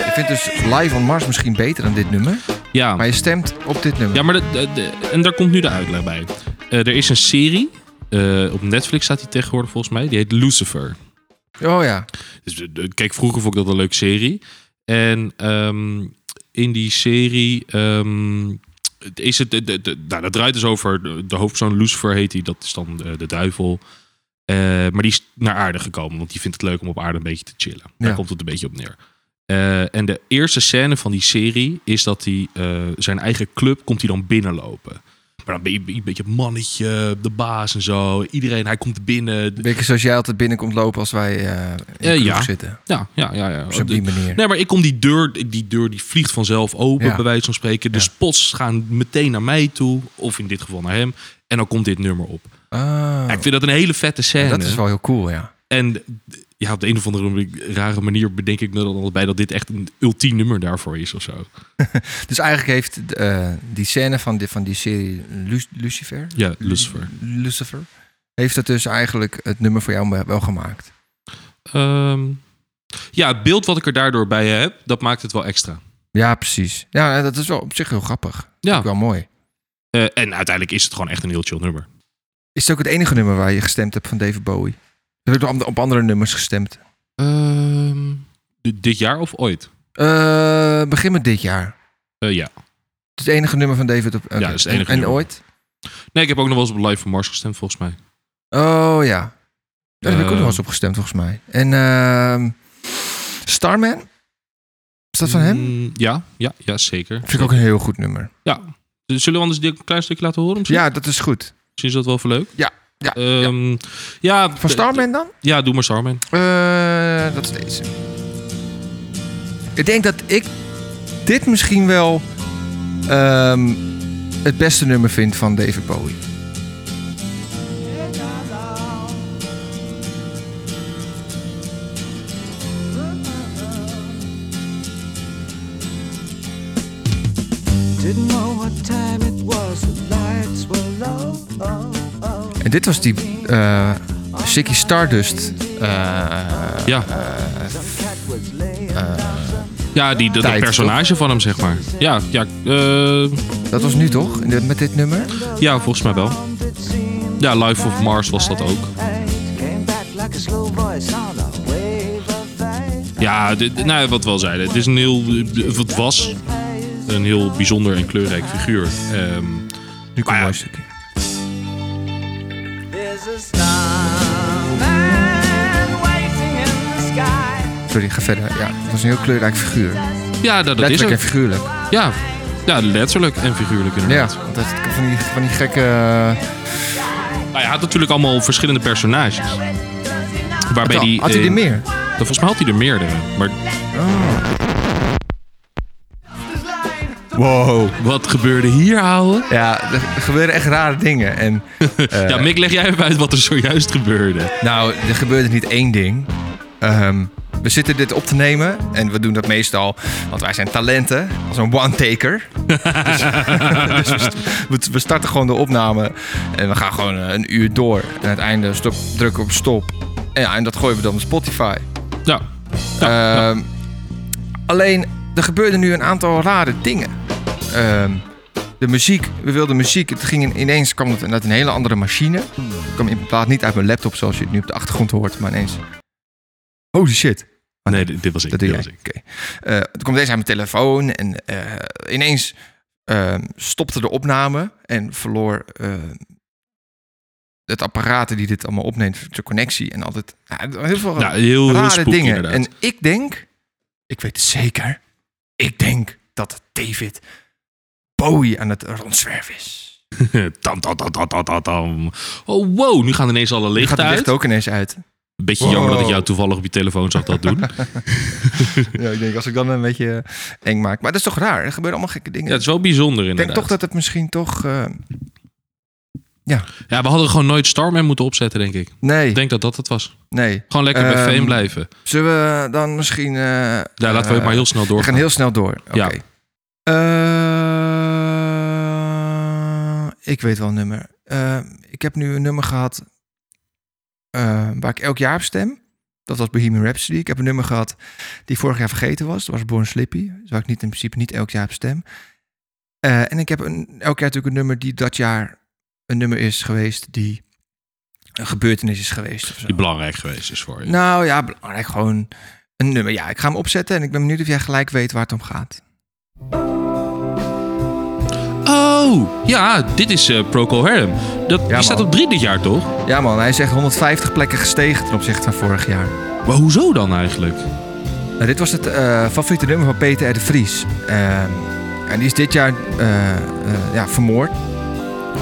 S2: Ik vind dus Live on Mars misschien beter dan dit nummer.
S1: ja.
S2: Maar je stemt op dit nummer.
S1: Ja, maar de, de- de- en daar komt nu de uitleg bij. Eh, er is een serie. eh, op Netflix staat die tegenwoordig volgens mij. Die heet Lucifer.
S2: Oh ja.
S1: Dus, eh, ik keek vroeger vond ik dat een leuke serie. En ehm, in die serie ehm, het is het. De, de, de- nou, dat draait dus over de, de hoofdpersoon Lucifer heet hij. Dat is dan eh, de duivel. Eh, maar die is naar aarde gekomen, want die vindt het leuk om op aarde een beetje te chillen. Daar
S2: Ja.
S1: komt het een beetje op neer. Eh, en de eerste scène van die serie is dat hij eh, zijn eigen club komt hij dan binnenlopen. Maar dan ben je een beetje mannetje, de baas en zo. Iedereen, hij komt binnen.
S2: Een beetje zoals jij altijd binnenkomt lopen als wij eh, in
S1: Eh,
S2: de kroeg
S1: ja.
S2: zitten.
S1: Ja, ja, ja. ja.
S2: Op die manier.
S1: Nee, maar ik kom die deur, die deur die vliegt vanzelf open,
S2: Ja.
S1: bij wijze van spreken. De
S2: Ja.
S1: spots gaan meteen naar mij toe, of in dit geval naar hem. En dan komt dit nummer op.
S2: Ah,
S1: Ja, ik vind dat een hele vette scène.
S2: dat is wel heel cool, ja.
S1: En ja, op de een of andere rare manier bedenk ik me dan altijd bij dat dit echt een ultiem nummer daarvoor is of zo.
S2: Dus eigenlijk heeft eh, die scène van die, van die serie Lu- Lucifer...
S1: Ja, Lucifer.
S2: Lu- Lucifer. Heeft dat dus eigenlijk het nummer voor jou wel gemaakt?
S1: Ehm, ja, het beeld wat ik er daardoor bij heb, dat maakt het wel extra.
S2: Ja, precies. Ja, dat is wel op zich heel grappig.
S1: Ja.
S2: Ook wel mooi.
S1: Eh, en uiteindelijk is het gewoon echt een heel chill nummer.
S2: Is het ook het enige nummer waar je gestemd hebt van David Bowie? Je hebt ook op- op andere nummers gestemd.
S1: Ehm, di- dit jaar of ooit?
S2: Eh, begin met dit jaar.
S1: Eh, ja.
S2: Het is het enige nummer van David op. oké.
S1: dat is het enige
S2: en, en
S1: nummer.
S2: ooit?
S1: Nee, ik heb ook nog wel eens op Live van Mars gestemd, volgens mij.
S2: Oh ja. Daar heb ik ook nog
S1: Eh.
S2: eens op gestemd, volgens mij. En ehm, Starman? Is dat van hem?
S1: Mm, ja, ja, ja, zeker.
S2: Vind ik ook een heel goed nummer.
S1: Ja. Dus Zullen we anders dit een klein stukje laten horen? Misschien,
S2: Ja, dat is goed.
S1: misschien is dat wel voor leuk.
S2: Ja, ja,
S1: Ehm, ja.
S2: Van Starman dan?
S1: Ja, doe maar Starman.
S2: Eh, dat is deze. Ik denk dat ik dit misschien wel ehm, het beste nummer vind van David Bowie.
S5: Didn't know what time it was, the lights were low. Oh, oh.
S2: En dit was die eh Ziggy Stardust eh,
S5: Some
S1: Ja.
S5: cat was laying
S1: Ja, die, dat, dat
S2: Tijd,
S1: personage van hem, zeg maar. Ja, ja, eh,
S2: Dat was nu toch? In dit- Met dit nummer?
S1: ja, volgens mij wel.
S5: down, it seemed.
S1: Ja, Life of Mars was dat ook.
S5: It Came back like a slow voice on a wave of light.
S1: Ja, dit, nou, wat we al zeiden. Het is een heel, of het was een heel bijzonder en kleurrijk figuur. Ehm,
S2: Nu komt
S1: ja.
S2: een mooi stukje.
S5: There's a starman waiting in the sky.
S2: Sorry, ga verder. Ja, het was een heel kleurrijk figuur.
S1: ja, dat, dat is
S2: Letterlijk en
S1: ook.
S2: figuurlijk.
S1: Ja. ja, letterlijk en figuurlijk
S2: Ja,
S1: inderdaad.
S2: want dat van die, van die gekke...
S1: Nou, hij had natuurlijk allemaal verschillende personages. Waarbij
S2: Had-
S1: die,
S2: had hij
S1: eh,
S2: er meer?
S1: dan Volgens mij had hij er meerdere. Maar
S2: Wow.
S1: wat gebeurde hier, ouwe?
S2: Ja, er gebeuren echt rare dingen. En Eh.
S1: ja, Mick, leg jij even uit wat er zojuist gebeurde.
S2: Nou, er gebeurde niet één ding. Ehm, we zitten dit op te nemen en we doen dat meestal, want wij zijn talenten, als een one-taker. dus dus we, st- we- we starten gewoon de opname en we gaan gewoon eh, een uur door. En aan het einde stop, drukken op stop. En, ja, en dat gooien we dan op Spotify.
S1: Ja.
S2: Ehm, Alleen, er gebeurden nu een aantal rare dingen. Ehm, de muziek, we wilden muziek. Het ging in- ineens kwam het uit een hele andere machine.
S1: Hmm.
S2: Het kwam inderdaad niet uit mijn laptop zoals je het nu op de achtergrond hoort, maar ineens. Holy shit.
S1: Nee, dit, dit was ik.
S2: Dat
S1: dit
S2: doe jij.
S1: was
S2: Oké.
S1: ik.
S2: Eh, toen kwam deze aan mijn telefoon en eh, ineens ehm, stopte de opname en verloor eh, het apparaat die dit allemaal opneemt, de connectie en altijd. Ja, heel veel
S1: Nou, heel, heel
S2: rare
S1: spooky,
S2: dingen.
S1: inderdaad.
S2: En ik denk, ik weet het zeker, ik denk dat het David Bowie aan het rondzwerven is.
S1: tam, tam, tam, tam, tam, tam, tam. Oh, wow, nu gaan ineens alle
S2: Nu
S1: lichten
S2: gaat het
S1: uit.
S2: licht ook ineens uit.
S1: Een beetje
S2: Wow.
S1: jammer dat ik jou toevallig op je telefoon zag dat doen.
S2: Ja, ik denk, als ik dan een beetje eh, eng maak. Maar dat is toch raar? Er gebeuren allemaal gekke dingen.
S1: ja, het is wel bijzonder
S2: ik denk
S1: inderdaad.
S2: toch dat het misschien toch... eh,
S1: Ja, we hadden gewoon nooit Starman moeten opzetten, denk ik.
S2: nee,
S1: Ik denk dat dat het was.
S2: nee.
S1: Gewoon lekker bij
S2: Ehm,
S1: Fame blijven.
S2: Zullen we dan misschien... eh,
S1: Ja, laten we
S2: eh,
S1: ook maar heel snel
S2: We
S1: doorgaan.
S2: gaan heel snel door. Oké.
S1: Ja.
S2: Eh, ik weet wel een nummer. Eh, ik heb nu een nummer gehad eh, waar ik elk jaar op stem. Dat was Bohemian Rhapsody. Ik heb een nummer gehad die vorig jaar vergeten was. Dat was Born Slippy. Dus waar ik niet, in principe niet elk jaar op stem. Eh, en ik heb een, elk jaar natuurlijk een nummer die dat jaar een nummer is geweest die een gebeurtenis is geweest. Of zo.
S1: Die belangrijk geweest is voor je.
S2: Nou ja, belangrijk. Gewoon een nummer. Ja, ik ga hem opzetten en ik ben benieuwd of jij gelijk weet waar het om gaat.
S1: Oh, ja, dit is eh Procol Harum. Dat, die
S2: man.
S1: staat op drie dit jaar, toch?
S2: Ja man, hij is echt 150 plekken gestegen ten opzichte van vorig jaar.
S1: Maar hoezo dan eigenlijk?
S2: Nou, dit was het eh, favoriete nummer van Peter R. de Vries. Ehm, en die is dit jaar eh, eh, ja, vermoord.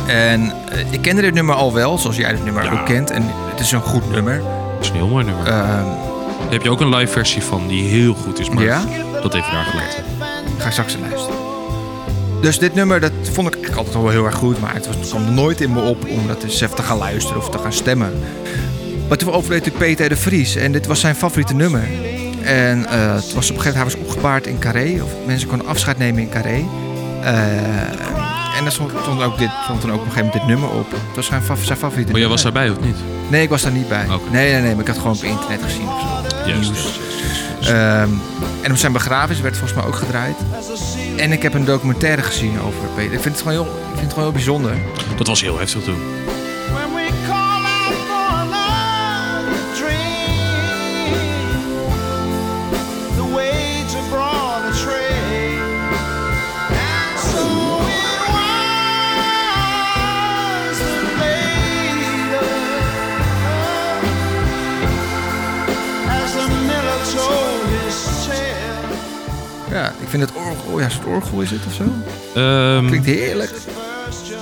S2: En eh, ik kende dit nummer al wel, zoals jij dit nummer
S1: Ja.
S2: ook kent. En het is een goed nummer.
S1: Dat is een heel mooi nummer.
S2: Ehm,
S1: Daar heb je ook een live versie van die heel goed is. Maar
S2: Ja?
S1: dat even daar gelaten.
S2: ga ik straks naar luisteren. Dus dit nummer, dat vond ik eigenlijk altijd wel heel erg goed. Maar het was, het kwam nooit in me op om dat eens even te gaan luisteren of te gaan stemmen. Maar toen overleed ik Peter de Vries en dit was zijn favoriete nummer. En eh, het was op een gegeven moment, hij was opgebaard in Carré. Of mensen konden afscheid nemen in Carré. Eh, en er stond, stond ook dit, stond dan ook op een gegeven moment dit nummer op. Het was zijn, fa- zijn favoriete
S1: Maar Oh, jij was
S2: nummer.
S1: daarbij, of niet?
S2: Nee, ik was daar niet bij.
S1: Oké.
S2: Nee, nee, nee, maar ik had gewoon op internet gezien of zo.
S1: Oké. Juist,
S2: nieuws.
S1: juist, juist, juist, juist.
S2: Ehm, en op zijn begrafenis werd volgens mij ook gedraaid. En ik heb een documentaire gezien over Peter. Ik vind het gewoon heel, ik vind het gewoon heel bijzonder.
S1: Dat was heel heftig toen.
S4: When we call out for another dream, the waves have brought a train. And so it was the later, as the miller told his tale.
S2: Ja, ik vind het orgel, oh ja, soort orgel is het of zo.
S1: Ehm,
S2: Klinkt heerlijk.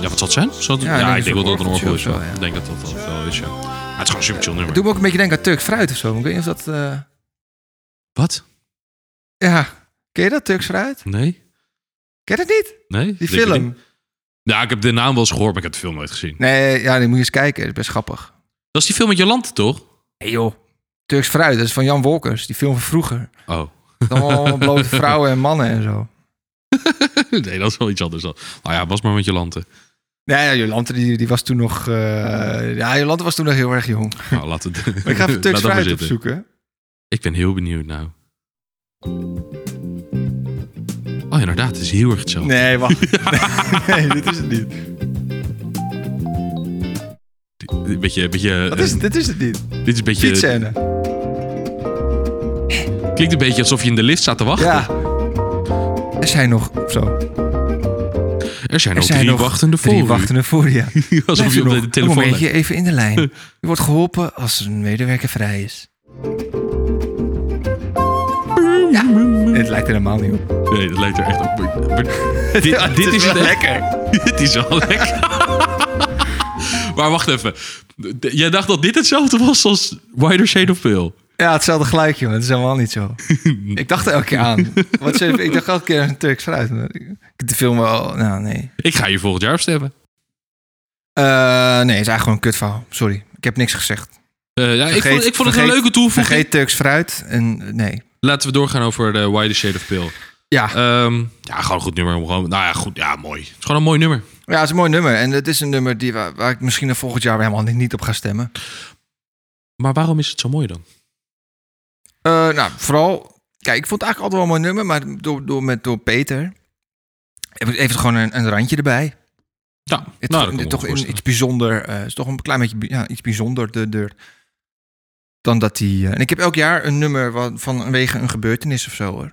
S1: ja, wat zal het zijn? Zal het- ja,
S2: Ja, ik denk
S1: ik denk
S2: een
S1: wel dat het een orgel
S2: orgeltje of
S1: is.
S2: zo,
S1: ja.
S2: ja.
S1: Ik denk dat dat dat wel is, ja. Maar het is gewoon een super chill
S2: Het
S1: nummer.
S2: doet me ook een beetje denken aan Turks fruit of zo. maar Ik weet niet of dat... eh,
S1: Wat?
S2: ja, ken je dat, Turks fruit?
S1: Nee?
S2: Ken je dat niet?
S1: Nee?
S2: Die
S1: Denk je
S2: film?
S1: niet? Ja, ik heb de naam wel eens gehoord, maar ik heb de film nooit gezien.
S2: Nee, ja, die moet je eens kijken. Dat is best grappig.
S1: Dat is die film met Jolante, toch?
S2: Hey joh. Turks fruit, dat is van Jan Wolkers. Die film van vroeger.
S1: Oh.
S2: Allemaal blote vrouwen en mannen en zo.
S1: nee, dat is wel iets anders dan. Nou ja, was maar met Jolante.
S2: Nee, ja, Jolante die, die was toen nog... eh, ja, Jolante was toen nog heel erg jong.
S1: Nou, laat het.
S2: Maar ik ga even
S1: laat dat maar
S2: Turks fruit
S1: zitten.
S2: opzoeken.
S1: Ik ben heel benieuwd nou. Oh, inderdaad, het is heel erg hetzelfde.
S2: Nee, wacht. nee, dit is het niet.
S1: Een beetje, een beetje,
S2: Wat is,
S1: eh,
S2: dit is het niet.
S1: dit is een beetje,
S2: Fietsscène.
S1: klinkt een beetje alsof je in de lift staat te wachten.
S2: Ja. Er zijn nog... of Zo.
S1: Er zijn
S2: Er
S1: ook
S2: zijn
S1: drie
S2: nog
S1: wachtende voor
S2: drie
S1: u.
S2: wachtende voor je.
S1: Alsof je
S2: Even
S1: op
S2: nog
S1: de telefoon
S2: Een
S1: bent.
S2: momentje, even in de lijn. U wordt geholpen als een medewerker vrij is. Ja, het lijkt er helemaal niet op.
S1: Nee, dat lijkt er echt op. Maar- maar- dit, Ah, dit is, het lekker. dit is wel lekker. maar wacht even. D- Jij dacht dat dit hetzelfde was als Wider Shade of Pale.
S2: Ja, hetzelfde geluidje, maar het is helemaal niet zo. ik dacht er elke keer aan. Wat ze- ik dacht elke keer aan Turks fruit. maar Ik ik heb de film wel... Nou, nee.
S1: Ik ga hier volgend jaar op stemmen.
S2: Eh, nee, het is eigenlijk gewoon een kutverhaal. Sorry, ik heb niks gezegd.
S1: Eh, ja, ik
S2: Vergeet-
S1: vond, ik vond het een
S2: vergeet-
S1: leuke toevoeging.
S2: Vergeet Turks fruit en eh, nee.
S1: Laten we doorgaan over de Wider Shade of Pale.
S2: Ja,
S1: Ehm, ja, gewoon een goed nummer. om Gewoon, nou ja, goed. Ja, mooi. Het is gewoon een mooi nummer.
S2: ja, het is een mooi nummer. En het is een nummer die, waar, waar ik misschien er volgend jaar weer helemaal niet- niet op ga stemmen.
S1: Maar waarom is het zo mooi dan?
S2: Eh, nou, vooral... Kijk, ik vond het eigenlijk altijd wel een mooi nummer, maar door, door, met, door Peter... Heeft heeft het gewoon een, een randje erbij.
S1: Ja,
S2: Het
S1: nou,
S2: is
S1: dat kan ik me
S2: gewoon toch een,
S1: voorstellen.
S2: iets bijzonder. eh, het is toch een klein beetje bi- ja, iets bijzonderder dan dat die. eh, en ik heb elk jaar een nummer wa- vanwege een gebeurtenis of zo hoor. Dat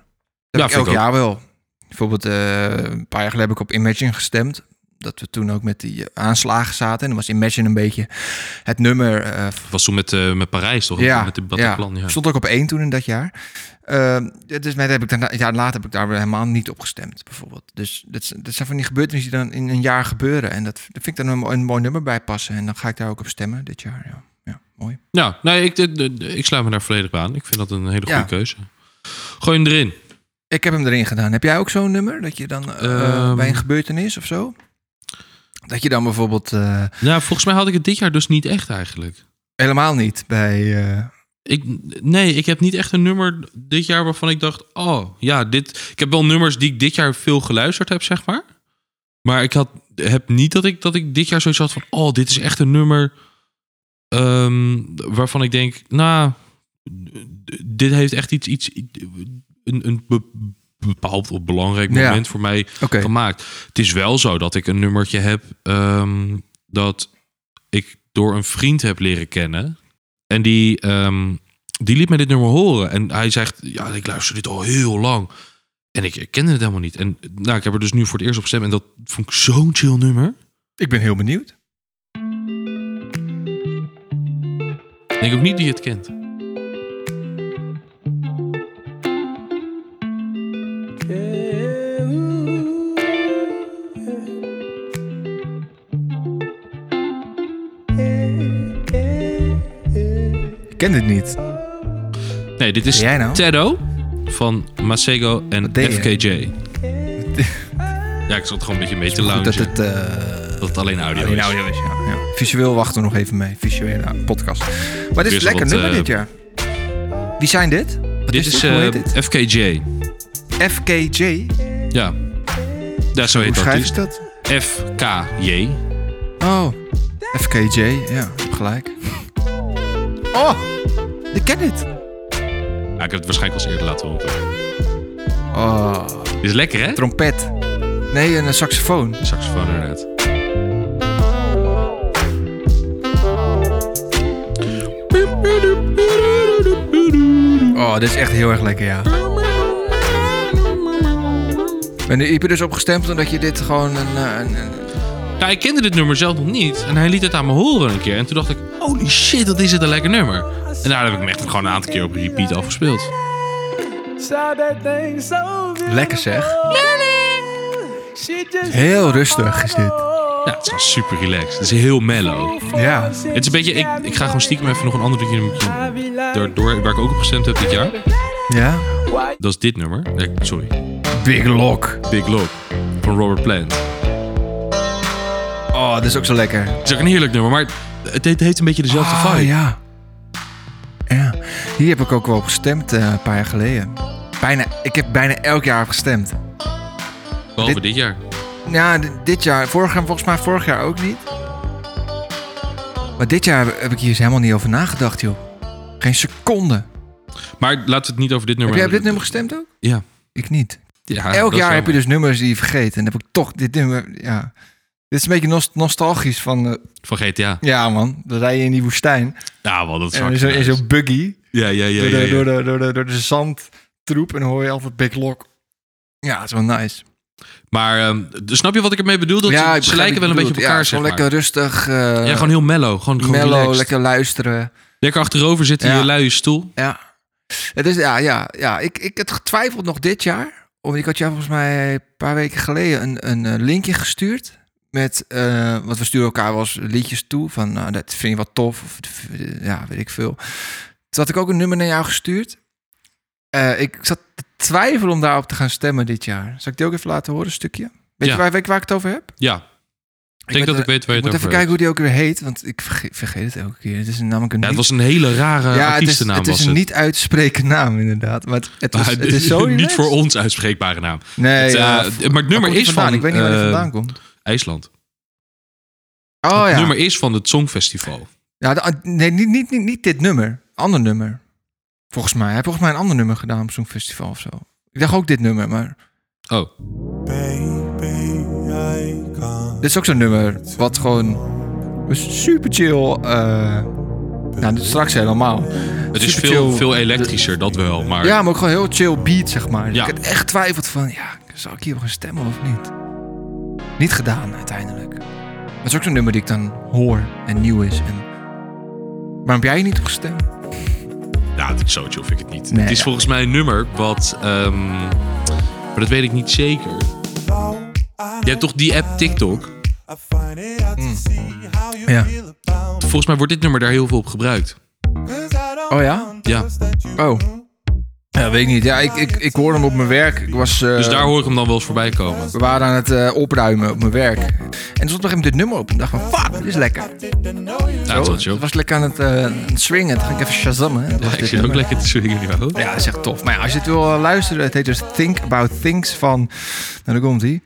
S1: Ja,
S2: heb ik
S1: vind ik
S2: elk
S1: ook.
S2: jaar wel. Bijvoorbeeld eh, een paar jaar geleden heb ik op Imagine gestemd. Dat we toen ook met die eh, aanslagen zaten. En dan was Imagine een beetje het nummer eh,
S1: Het was toen met, eh, met Parijs, toch?
S2: ja,
S1: Met die
S2: ja.
S1: Bataclan, ja.
S2: Stond ook op één toen in dat jaar. Ehm, dus met heb ik daarna, een jaar later heb ik daar weer helemaal niet op gestemd, bijvoorbeeld. Dus dat, z- dat zijn van die gebeurtenissen die dan in een jaar gebeuren. En dat, dat vind ik dan een, mo- een mooi nummer bij passen. En dan ga ik daar ook op stemmen dit jaar. Ja, ja mooi.
S1: Ja, Nou, nee, ik, dit- dit- ik sluit me daar volledig bij aan. Ik vind dat een hele goede
S2: Ja.
S1: keuze. Gooi hem erin.
S2: Ik heb hem erin gedaan. Heb jij ook zo'n nummer? Dat je dan eh,
S1: Ehm.
S2: bij een gebeurtenis of zo? Dat je dan bijvoorbeeld eh,
S1: Ja, Nou, volgens mij had ik het dit jaar dus niet echt eigenlijk.
S2: helemaal niet bij... eh,
S1: Ik, nee, ik heb niet echt een nummer dit jaar waarvan ik dacht... Oh, ja, dit... Ik heb wel nummers die ik dit jaar veel geluisterd heb, zeg maar. Maar ik had, heb niet dat ik, dat ik dit jaar zoiets had van... Oh, dit is echt een nummer ehm, waarvan ik denk... Nou, d- dit heeft echt iets... iets een, een be- bepaald of belangrijk
S2: Ja.
S1: moment voor mij
S2: Oké.
S1: gemaakt. Het is wel zo dat ik een nummertje heb ehm, dat ik door een vriend heb leren kennen. En die, ehm, die liet me dit nummer horen. En hij zegt, ja, ik luister dit al heel lang. En ik kende het helemaal niet. En nou, ik heb er dus nu voor het eerst op gestemd. En dat vond ik zo'n chill nummer.
S2: Ik ben heel benieuwd.
S1: Ik denk ook niet die het kent.
S2: Ik ken dit niet.
S1: Oh, Nee, dit is
S2: Jij nou?
S1: Teddo van Masego en
S2: deed je?
S1: FKJ. Ja, ik zat gewoon een beetje mee te
S2: Goed
S1: loungen.
S2: dat
S1: Dat,
S2: het... eh,
S1: het alleen audio is.
S2: nou, is, ja. ja. Visueel wachten we nog even mee. Visuele podcast. Maar dit is
S1: Weer zo
S2: een lekker
S1: wat,
S2: nummer
S1: eh,
S2: dit jaar. Wie zijn dit? Wat
S1: Dit is
S2: dit? Hoe heet
S1: eh, FKJ.
S2: dit? FKJ?
S1: Ja. Ja, zo
S2: Hoe
S1: heet dus. de artiest.
S2: schrijf je dat?
S1: FKJ.
S2: Oh, FKJ. Ja, gelijk. Oh, ik ken dit.
S1: ik heb het waarschijnlijk al eens eerder laten horen.
S2: Oh,
S1: Dit is lekker, hè?
S2: trompet. Nee, een eh, saxofoon.
S1: Saxofoon inderdaad.
S2: Oh, dit is echt heel erg lekker, ja. En je hebt er dus op gestemd omdat je dit gewoon een... eh, een- een-
S1: Nou, ik kende dit nummer zelf nog niet. En hij liet het aan me horen een keer. En toen dacht ik, holy shit, dat is het een lekker nummer. En daar heb ik hem echt gewoon een aantal keer op repeat afgespeeld.
S2: Lekker zeg. Heel rustig is dit.
S1: Ja, het is gewoon super relaxed. Het is heel mellow.
S2: Ja.
S1: Het is een beetje, ik, ik ga gewoon stiekem even nog een ander nummer door, waar ik ook op gestemd heb dit jaar.
S2: Ja.
S1: Dat is dit nummer. Nee, sorry.
S2: Big Lock.
S1: Big Love van Robert Plant.
S2: Oh, dit is ook zo lekker.
S1: Het is ook een heerlijk nummer, maar het heeft heeft een beetje dezelfde
S2: Ah,
S1: vibe.
S2: ja. Ja. Hier heb ik ook wel op gestemd eh, een paar jaar geleden. Bijna, ik heb bijna elk jaar op gestemd.
S1: Behalve dit,
S2: Dit-
S1: jaar.
S2: Ja, d- dit jaar. Vorig jaar, volgens mij vorig jaar ook niet. Maar dit jaar heb ik hier eens helemaal niet over nagedacht, joh. Geen seconde.
S1: Maar laten we het niet over dit
S2: Heb
S1: nummer
S2: jij op dit nummer
S1: hebben.
S2: gestemd ook?
S1: Ja.
S2: Ik niet.
S1: Ja, dat
S2: Elk
S1: is
S2: jaar heb
S1: jammer.
S2: je dus nummers die je vergeet. En dan heb ik toch dit nummer... Ja. Dit is een beetje nos- nostalgisch van... eh,
S1: Van GTA.
S2: ja, man. Dan rij je in die woestijn.
S1: Ja, wel, dat is
S2: En in
S1: hard.
S2: zo- in zo'n buggy.
S1: Ja, ja, ja.
S2: door,
S1: ja,
S2: de,
S1: ja.
S2: door, de, door, de, door de zandtroep. En dan hoor je altijd Big Lock. Ja, dat is wel nice.
S1: Maar ehm, snap je wat ik ermee bedoel? Dat
S2: ja,
S1: ze-
S2: ik
S1: ze
S2: begrijp
S1: lijken wel
S2: wat
S1: een
S2: je
S1: beetje op elkaar,
S2: bedoelt. Ja,
S1: zeg
S2: gewoon
S1: maar.
S2: lekker rustig. eh,
S1: ja, gewoon heel mellow. Gewoon, gewoon
S2: mellow,
S1: relaxed.
S2: lekker luisteren.
S1: Lekker achterover zitten in
S2: Ja.
S1: je luie stoel.
S2: Ja. Het is, ja, ja, ja. Ik, ik had getwijfeld nog dit jaar. Omdat ik had jou volgens mij een paar weken geleden een, een eh, linkje gestuurd. Met, eh want we sturen elkaar wel eens liedjes toe. Van, nou, dat vind je wat tof. Of, eh, ja, weet ik veel. Toen had ik ook een nummer naar jou gestuurd. Eh, ik zat te twijfelen om daarop te gaan stemmen dit jaar. Zal ik die ook even laten horen, een stukje? Weet
S1: Ja.
S2: je waar, weet je waar ik het over heb?
S1: Ja. Ik denk
S2: moet
S1: dat
S2: er-
S1: ik weet waar je
S2: moet
S1: het
S2: even
S1: over hebt.
S2: kijken hoe die ook weer heet. Want ik verge- vergeet het elke keer. Het is namelijk een
S1: Ja, het
S2: niet-
S1: was een hele rare
S2: het is,
S1: Eh, artiestennaam
S2: het is
S1: was
S2: een niet uit te spreken naam inderdaad. Maar het, het, was,
S1: Maar
S2: het is zo
S1: niet
S2: relaxed.
S1: voor ons uitspreekbare naam.
S2: Nee,
S1: Het, eh,
S2: ja,
S1: d-
S2: v-
S1: maar het
S2: waar
S1: nummer
S2: komt
S1: is
S2: het vandaan?
S1: van,
S2: Ik weet niet waar
S1: eh,
S2: het vandaan komt.
S1: IJsland.
S2: Oh
S1: Het
S2: ja.
S1: nummer is van het Songfestival.
S2: ja de- ah, nee, niet, niet, niet, niet dit nummer. Ander nummer. Volgens mij. Hij heeft volgens mij een ander nummer gedaan op zo'n festival of zo. Ik dacht ook dit nummer, maar...
S1: Oh,
S2: Dit is ook zo'n nummer wat gewoon... Super chill... eh, nou, dit straks helemaal.
S1: het is
S2: Super
S1: veel,
S2: chill.
S1: veel elektrischer, dat wel. Maar
S2: Ja, maar ook gewoon heel chill beat, zeg maar. Dus
S1: Ja.
S2: Ik had echt twijfeld van, ja, zal ik hierop gaan stemmen of niet? Niet gedaan, uiteindelijk. Maar het is ook zo'n nummer die ik dan hoor en nieuw is. En... Waarom heb jij niet op gestemd?
S1: Ja, het- zo chill vind ik het niet.
S2: Nee,
S1: het is
S2: ja.
S1: volgens mij een nummer wat... ehm, maar dat weet ik niet zeker. Je hebt toch die app TikTok?
S2: Ja.
S1: Volgens mij wordt dit nummer daar heel veel op gebruikt.
S2: Oh ja?
S1: Ja,
S2: Oh. Ja, weet ik niet. Ja, ik, ik, ik hoorde hem op mijn werk. Ik was, eh,
S1: dus daar hoor ik hem dan wel eens voorbij komen.
S2: We waren aan het eh, opruimen op mijn werk. En er stond op een gegeven moment dit nummer op. En ik dacht van, fuck, dit is lekker.
S1: Ja, dat is wel chill.
S2: Het was lekker aan het eh, aan het swingen. Toen ging ik even shazammen. Dat was
S1: Ja, ik
S2: dit
S1: zit ook
S2: nummer.
S1: lekker te swingen nu. hoor.
S2: Ja, dat is echt tof. Maar ja, als je het wil eh, luisteren, het heet dus Think About Things van... Nou, daar komt ie.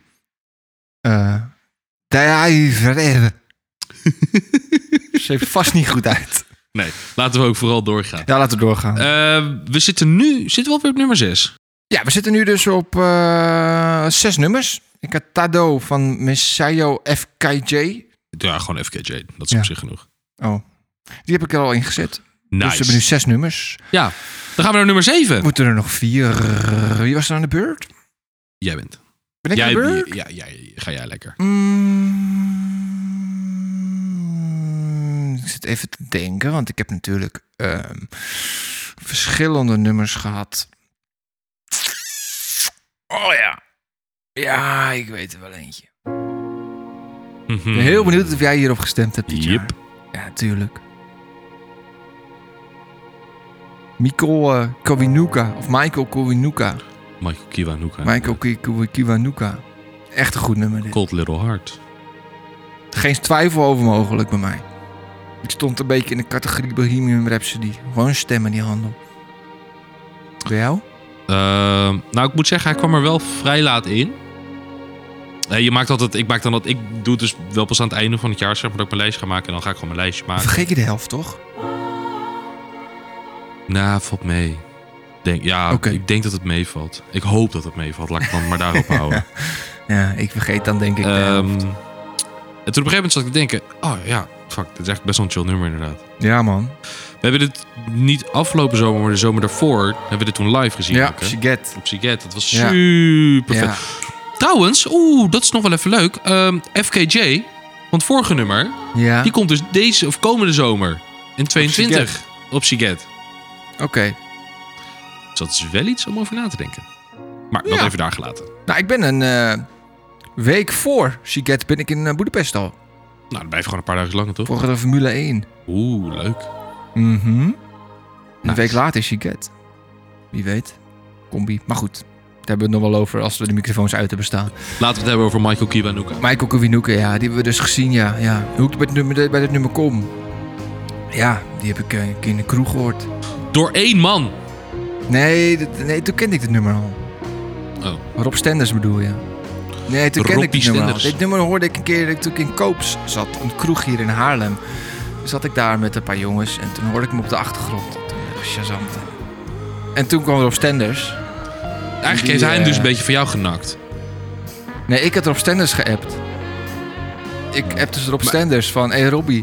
S2: Eh Diver. Ze heeft vast niet goed uit.
S1: Nee, laten we ook vooral doorgaan.
S2: Ja, laten we doorgaan.
S1: Eh, we zitten nu zitten we alweer op nummer 6.
S2: ja, we zitten nu dus op eh, zes nummers. Ik had Tado van Messiah FKJ.
S1: Ja, gewoon FKJ. Dat is
S2: Ja.
S1: op zich genoeg.
S2: Oh, die heb ik er al in gezet. Dus we
S1: Nice.
S2: hebben nu zes nummers.
S1: Ja, dan gaan we naar nummer 7.
S2: Moeten er nog vier... Wie was er aan de beurt?
S1: Jij bent.
S2: Ben ik
S1: jij,
S2: aan de beurt?
S1: ja, jij, ga jij lekker.
S2: Mm, ik zit even te denken, want ik heb natuurlijk ehm, verschillende nummers gehad. Oh ja. Ja, ik weet er wel eentje. Ik
S1: Mhm.
S2: ben heel benieuwd of jij hierop gestemd hebt dit
S1: Yep.
S2: jaar. Ja, tuurlijk. Michael eh, Kawinuka, of Michael Kawinuka.
S1: Michael Kiwanuka.
S2: Michael Ki- Ki- Kiwanuka. Echt een goed nummer dit.
S1: Cold Little Heart.
S2: Geen twijfel over mogelijk bij mij. Ik stond een beetje in de categorie Bohemian Rhapsody. Gewoon stemmen die handel. Bij jou?
S1: Ah, Ehm, nou, ik moet zeggen, hij kwam er wel vrij laat in. Eh, je maakt altijd, ik maak dan dat, ik doe het dus wel pas aan het einde van het jaar, zeg maar, dat ik mijn lijstje ga maken. En dan ga ik gewoon mijn lijstje maken.
S2: Vergeet je de helft, toch?
S1: Nou, valt mee. Denk, ja,
S2: Oké.
S1: ik denk dat het meevalt. Ik hoop dat het meevalt. Laat ik het dan maar daarop houden.
S2: Ja, ik vergeet dan denk ik. de
S1: Ehm,
S2: helft.
S1: en toen op een gegeven moment zat ik te denken... Oh ja, fuck, dit is echt best wel een chill nummer inderdaad.
S2: ja, man.
S1: We hebben dit niet afgelopen zomer, maar de zomer daarvoor... hebben we dit toen live gezien.
S2: Ja,
S1: ook, hè?
S2: Shiget.
S1: op Siget. Dat was
S2: Ja.
S1: super vet.
S2: Ja.
S1: Trouwens, oeh, dat is nog wel even leuk. Ehm, FKJ, want vorige nummer...
S2: ja.
S1: Die komt dus deze of komende zomer. In 22. Op Siget.
S2: Oké.
S1: Dus dat is wel iets om over na te denken. Maar dat
S2: Ja.
S1: even daar gelaten.
S2: Nou, ik ben een eh, week voor Shiget ben ik in eh, Boedapest al.
S1: Nou, dan blijf je gewoon een paar dagen langer, toch?
S2: Voor de Formule 1.
S1: Oeh, leuk.
S2: Mhm. Een
S1: Nice.
S2: week later is Shiget. Wie weet. Combi. Maar goed. Daar hebben we het nog wel over als we de microfoons uit hebben staan.
S1: Laten we het hebben over Michael Kiwanuka.
S2: Michael Kowinuke, ja, die hebben we dus gezien, ja. ja. Hoe ik bij het nummer, bij dit nummer kom. Ja, die heb ik eh, een keer in de kroeg gehoord.
S1: Door één man.
S2: Nee, dat- nee, toen kende ik het nummer al.
S1: Oh.
S2: Rob Stenders bedoel je? Nee, toen kende ik
S1: Robbie
S2: het nummer al.
S1: Stenders.
S2: Dit nummer hoorde ik een keer toen ik in Koops zat. Een kroeg hier in Haarlem. Zat ik daar met een paar jongens en toen hoorde ik hem op de achtergrond. Toen eh, Shazamte. En toen kwam Rob Stenders.
S1: Eigenlijk
S2: Die,
S1: heeft hij hem dus
S2: eh,
S1: een beetje van jou genakt.
S2: Nee, ik had Rob Stenders geappt. Ik appte dus Rob Stenders van... Hé hey Robbie,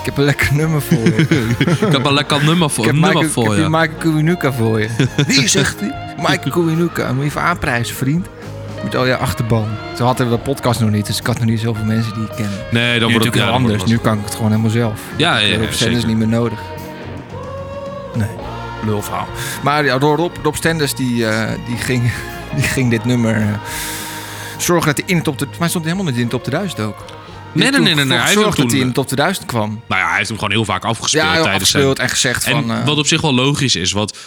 S2: ik heb een lekker nummer voor je.
S1: Ik heb een lekker nummer voor,
S2: Ik heb,
S1: een
S2: Michael,
S1: nummer voor
S2: ik heb
S1: je.
S2: hier Michael Kuwinuka voor je. Wie zegt die? Michael Kuwinuka. Moet je even aanprijzen, vriend. Met al je achterban. Zo hadden we de podcast nog niet, dus ik had nog niet zoveel mensen die ik ken.
S1: nee, dan
S2: Nu
S1: wordt
S2: natuurlijk
S1: het
S2: wel
S1: ja, dan wordt
S2: anders.
S1: het
S2: Nu kan ik het gewoon helemaal zelf.
S1: Ja, ja, ja,
S2: Rob Stenders
S1: zeker.
S2: niet meer nodig. Nee, lulverhaal. Maar ja, door Rob, Rob Stenders die, eh, die, ging, die ging dit nummer... eh, Zorgen dat hij in de top... de- Maar hij stond helemaal niet in de top 1000 ook.
S1: Nee,
S2: Die
S1: nee,
S2: toen
S1: nee, nee, nee, hij heeft hem
S2: Zorgde
S1: toen- eh,
S2: dat hij in de top 1000 kwam.
S1: Nou ja, hij heeft hem gewoon heel vaak afgespeeld
S2: Ja,
S1: tijdens
S2: afgespeeld en gezegd
S1: zijn...
S2: van...
S1: En
S2: eh,
S1: wat op zich wel logisch is, want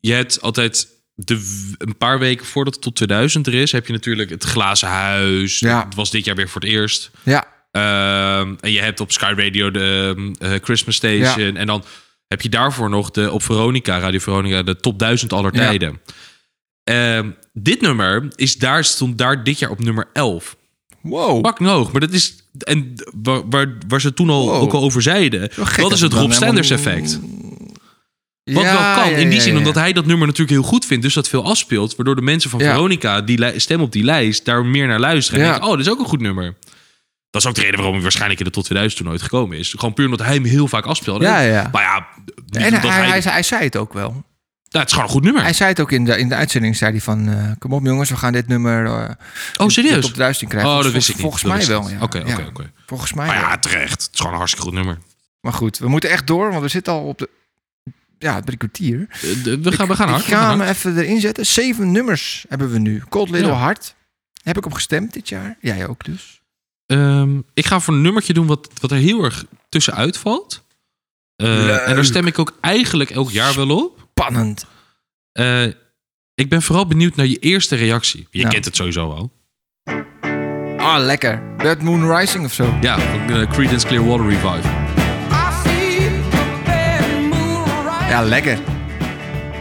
S1: je hebt altijd... De, w- een paar weken voordat het tot 2000 er is, heb je natuurlijk het glazen huis.
S2: Ja.
S1: Dat was dit jaar weer voor het eerst.
S2: ja,
S1: Ehm, en je hebt op Sky Radio de ehm, eh, Christmas Station. En dan heb je daarvoor nog de, op Veronica, Radio Veronica, de top 1000 aller
S2: Ja.
S1: tijden. Ehm, dit nummer is daar, stond daar dit jaar op nummer 11.
S2: Wow.
S1: Pak hoog, maar dat is. En waar, waar, waar ze toen al,
S2: Wow.
S1: ook al over zeiden.
S2: Wel gek
S1: Wat
S2: dat
S1: is
S2: het
S1: het
S2: dan
S1: Rob Stenders
S2: helemaal-
S1: effect? Wat wel kan, in die zin, omdat hij dat nummer natuurlijk heel goed vindt. Dus dat veel afspeelt. Waardoor de mensen van
S2: Ja.
S1: Veronica, die li- stem op die lijst, daar meer naar luisteren. En
S2: Ja.
S1: denken, oh, dit is ook een goed nummer. Dat is ook de reden waarom hij waarschijnlijk in de tot 2000 toen nooit gekomen is. Gewoon puur omdat hij hem heel vaak afspeelde.
S2: Ja, ja.
S1: Maar ja, niet
S2: En
S1: omdat
S2: hij,
S1: hij,
S2: hij, hij zei het ook wel.
S1: Nou, het is gewoon een goed nummer.
S2: Hij zei het ook in de, in de uitzending, zei hij van... eh, kom op jongens, we gaan dit nummer... eh,
S1: oh,
S2: de
S1: serieus?
S2: Top 1000 in krijgen.
S1: oh, dat
S2: Volgens-
S1: wist ik niet.
S2: Volgens
S1: Dat
S2: mij
S1: wist ik
S2: wel,
S1: niet.
S2: ja.
S1: Oké,
S2: Ja,
S1: oké, oké.
S2: Volgens mij
S1: Maar
S2: wel.
S1: ja, terecht. Het is gewoon een hartstikke goed nummer.
S2: Maar goed, we moeten echt door, want we zitten al op de... Ja, drie kwartier.
S1: Eh, de- We gaan, we gaan
S2: Ik
S1: hard. we gaan
S2: ga
S1: hard.
S2: hem even erin zetten. Zeven nummers hebben we nu. Cold Little
S1: Ja.
S2: Heart. Heb ik op gestemd dit jaar. Jij ook dus.
S1: Ehm, ik ga voor een nummertje doen wat, wat er heel erg tussenuit valt. Eh, en daar stem ik ook eigenlijk elk jaar wel op.
S2: Spannend.
S1: Eh, ik ben vooral benieuwd naar je eerste reactie. Je
S2: Ja.
S1: kent het sowieso al.
S2: Ah, lekker. Red Moon Rising of zo.
S1: Ja, van eh, Creedence Clearwater Revive.
S2: Ja, lekker.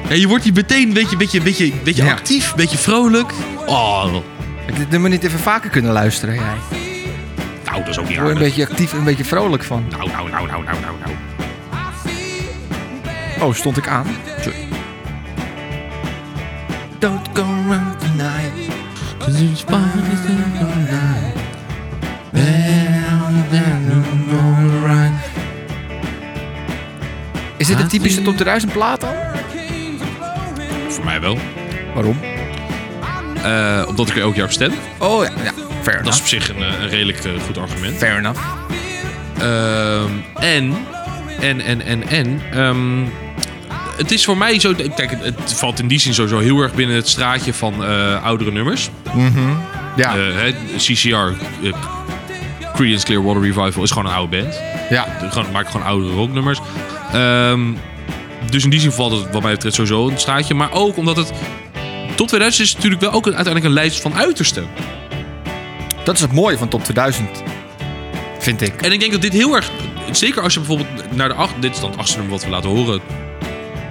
S1: Ja, je wordt hier meteen een beetje, beetje, beetje, beetje
S2: Ja.
S1: actief, een beetje vrolijk. Oh,
S2: Heb ik dit nummer niet even vaker kunnen luisteren, jij?
S1: nou, dat is ook niet
S2: Ik word een
S1: aardig.
S2: beetje actief en een beetje vrolijk van.
S1: Nou, nou, nou, nou, nou, nou, nou.
S2: Oh, stond ik aan? Sorry. Don't go round tonight. Is dit de typische top 1000 plaat dan?
S1: Voor mij wel.
S2: Waarom?
S1: Eh, omdat ik er elk jaar op stem.
S2: Oh ja, ja. fair
S1: Dat is
S2: enough.
S1: op zich een, eh, een redelijk eh, goed argument.
S2: Fair enough.
S1: Ehm, en, en, en, en, en. ehm, het is voor mij zo. Kijk, het, het valt in die zin sowieso heel erg binnen het straatje van eh, oudere nummers.
S2: Ja,
S1: Eh, hè, CCR, eh, Creedence Clearwater Revival, is gewoon een oude band.
S2: ja.
S1: Dus Gewoon, maak gewoon oude rocknummers. Ehm, dus in die zin valt het, wat mij betreft, sowieso een straatje. Maar ook omdat het. Tot 2000 is het natuurlijk wel ook een- uiteindelijk een lijst van uitersten.
S2: Dat is het mooie van top 2000. Vind ik.
S1: En ik denk dat dit heel erg. Zeker als je bijvoorbeeld naar de acht. Dit is dan het achtste nummer wat we laten horen.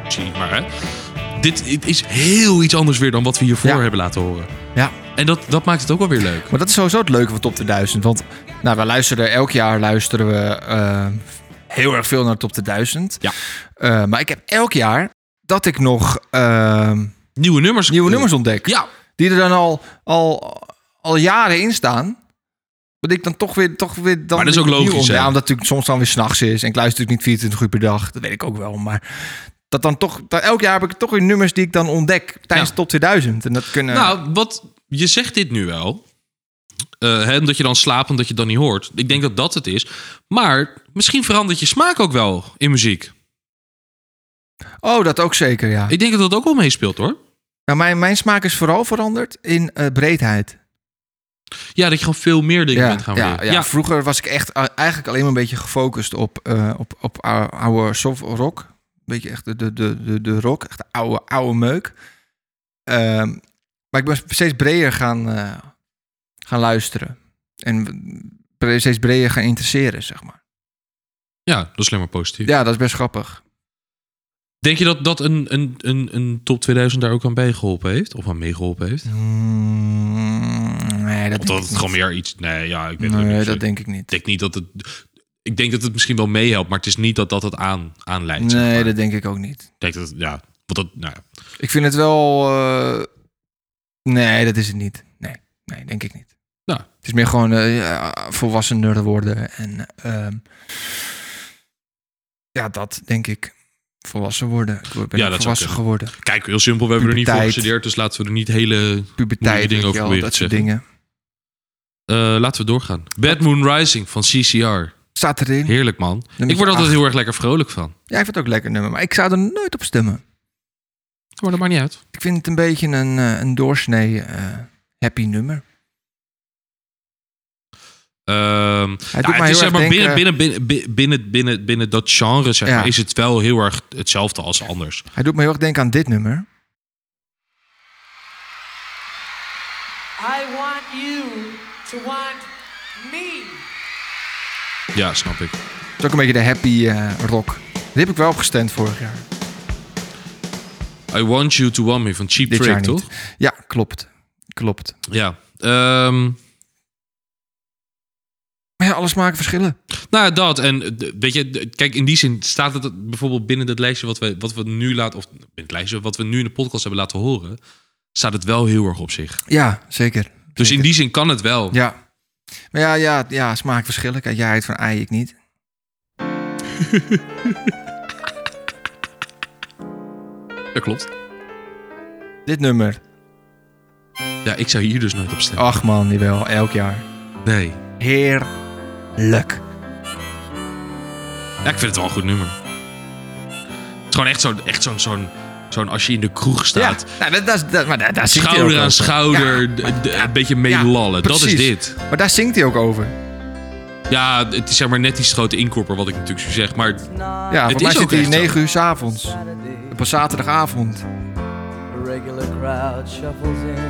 S1: Zie ik maar, hè. Dit het is heel iets anders weer dan wat we hiervoor
S2: Ja.
S1: hebben laten horen.
S2: Ja.
S1: En dat, dat maakt het ook wel weer leuk.
S2: Maar dat is sowieso het leuke van Top 2000. Want nou, we luisteren, elk jaar luisteren we eh, heel erg veel naar Top 2000.
S1: Ja.
S2: Eh, maar ik heb elk jaar dat ik nog eh,
S1: Nieuwe nummers.
S2: nieuwe nummers ontdek.
S1: Ja,
S2: Die er dan al, al, al jaren in staan. Wat ik dan toch weer... Toch weer dan
S1: Maar dat is
S2: weer
S1: ook
S2: opnieuw
S1: logisch,
S2: ontdek.
S1: hè?
S2: Ja, omdat het natuurlijk soms dan weer s'nachts is. En ik luister natuurlijk niet 24 uur per dag. Dat weet ik ook wel. Maar dat dan toch... Dat, elk jaar heb ik toch weer nummers die ik dan ontdek. Tijdens
S1: Ja.
S2: de top 2000. En dat kunnen...
S1: Nou, wat je zegt dit nu wel. Eh, hè, dat je dan slaapt omdat je het dan niet hoort. Ik denk dat dat het is. Maar misschien verandert je smaak ook wel in muziek.
S2: oh, dat ook zeker, ja.
S1: Ik denk dat dat ook wel meespeelt hoor.
S2: Nou, mijn, mijn smaak is vooral veranderd in eh, breedheid.
S1: Ja, dat je gewoon veel meer dingen bent gaan
S2: ja,
S1: waarderen.
S2: ja, vroeger was ik echt eh, eigenlijk alleen maar een beetje gefocust op, eh, op, op ou- oude soft rock. Een beetje echt de, de, de, de, de rock, echt de oude, oude meuk. Ehm, maar ik ben steeds breder gaan, eh, gaan luisteren. En bre- steeds breder gaan interesseren, zeg maar.
S1: ja, dat is alleen maar positief.
S2: Ja, dat is best grappig.
S1: Denk je dat dat een, een, een, een top 2000 daar ook aan bijgeholpen heeft? Of aan meegeholpen heeft?
S2: Mm, nee, dat
S1: Of
S2: denk
S1: dat
S2: ik
S1: het
S2: niet.
S1: gewoon meer iets... Nee, ja, ik weet het ook
S2: Nee,
S1: niet.
S2: dat
S1: ik
S2: denk ik niet.
S1: denk niet dat het... Ik denk dat het misschien wel meehelpt, maar het is niet dat dat het aan, aanleidt. zeg
S2: Nee,
S1: maar.
S2: dat denk ik ook niet.
S1: Ik denk dat... het- Ja, want dat... Nou ja.
S2: Ik vind het wel. eh, nee, dat is het niet. Nee, nee denk ik niet.
S1: Nou.
S2: Het is meer gewoon eh, ja, volwassener worden. En ehm, ja, dat denk ik. Volwassen worden. Ik ben
S1: Ja,
S2: ook
S1: dat zou
S2: volwassen
S1: kunnen.
S2: geworden.
S1: Kijk, heel simpel. We hebben er niet voor
S2: Puberteit.
S1: gestudeerd, dus laten we er niet hele
S2: Puberteit,
S1: dingen over
S2: weet je wel,
S1: proberen
S2: dat
S1: te
S2: soort
S1: zeggen.
S2: dingen.
S1: Eh, laten we doorgaan. Bad Moon Rising van CCR.
S2: Staat erin.
S1: Heerlijk, man. ik
S2: Nummertje
S1: word altijd
S2: acht.
S1: heel erg lekker vrolijk van.
S2: Jij vindt het ook lekker nummer, maar ik zou er nooit op stemmen.
S1: Maar dat maakt niet uit.
S2: Ik vind het een beetje een, eh, een doorsnee eh, happy nummer.
S1: Ehm,
S2: Hij
S1: nou,
S2: doet mij
S1: het is
S2: heel
S1: zeg
S2: erg
S1: maar binnen, binnen,
S2: denken-
S1: binnen, binnen, binnen, binnen, binnen dat genre zeg
S2: Ja.
S1: maar, is het wel heel erg hetzelfde als anders.
S2: Hij doet me heel erg denken aan dit nummer.
S6: I want you to want me.
S1: Ja, snap ik.
S2: Het is ook een beetje de happy eh, rock. Die heb ik wel opgestemd vorig jaar.
S1: I Want You To Want Me van Cheap
S2: Dit
S1: Trick,
S2: jaar niet.
S1: toch?
S2: Ja, klopt. Klopt.
S1: Ja. Ehm,
S2: Maar ja, alles maken verschillen.
S1: nou, dat. En eh, d- weet je, d- kijk, in die zin staat het bijvoorbeeld binnen het lijstje wat we, wat we nu laten, of nou, binnen het lijstje wat we nu in de podcast hebben laten horen, staat het wel heel erg op zich.
S2: Ja, zeker.
S1: Dus in
S2: Zeker.
S1: die zin kan het wel.
S2: Ja. Maar ja, ja, ja, smaak verschillen. Kijk, jij houdt van ei, ik niet.
S1: Dat klopt.
S2: Dit nummer.
S1: Ja, ik zou hier dus nooit op stemmen.
S2: Ach man, die wel. Elk jaar.
S1: Nee.
S2: Heerlijk.
S1: Ja, ik vind het wel een goed nummer. Het is gewoon echt zo'n, echt zo'n, zo'n, zo'n als je in de kroeg staat.
S2: Ja, nou, dat, dat, dat, maar daar, daar zingt hij ook
S1: Schouder aan
S2: over.
S1: schouder,
S2: Ja,
S1: d- d- een beetje mee
S2: ja,
S1: lallen. Dat is
S2: precies.
S1: dit.
S2: Maar daar zingt hij ook over.
S1: Ja, het is zeg maar net die grote inkorper wat ik natuurlijk zo zeg. Maar
S2: Ja, voor
S1: is
S2: mij
S1: ook
S2: zit hij
S1: echt zo.
S2: 9 uur s'avonds. Op een zaterdagavond.
S6: A regular crowd shuffles in.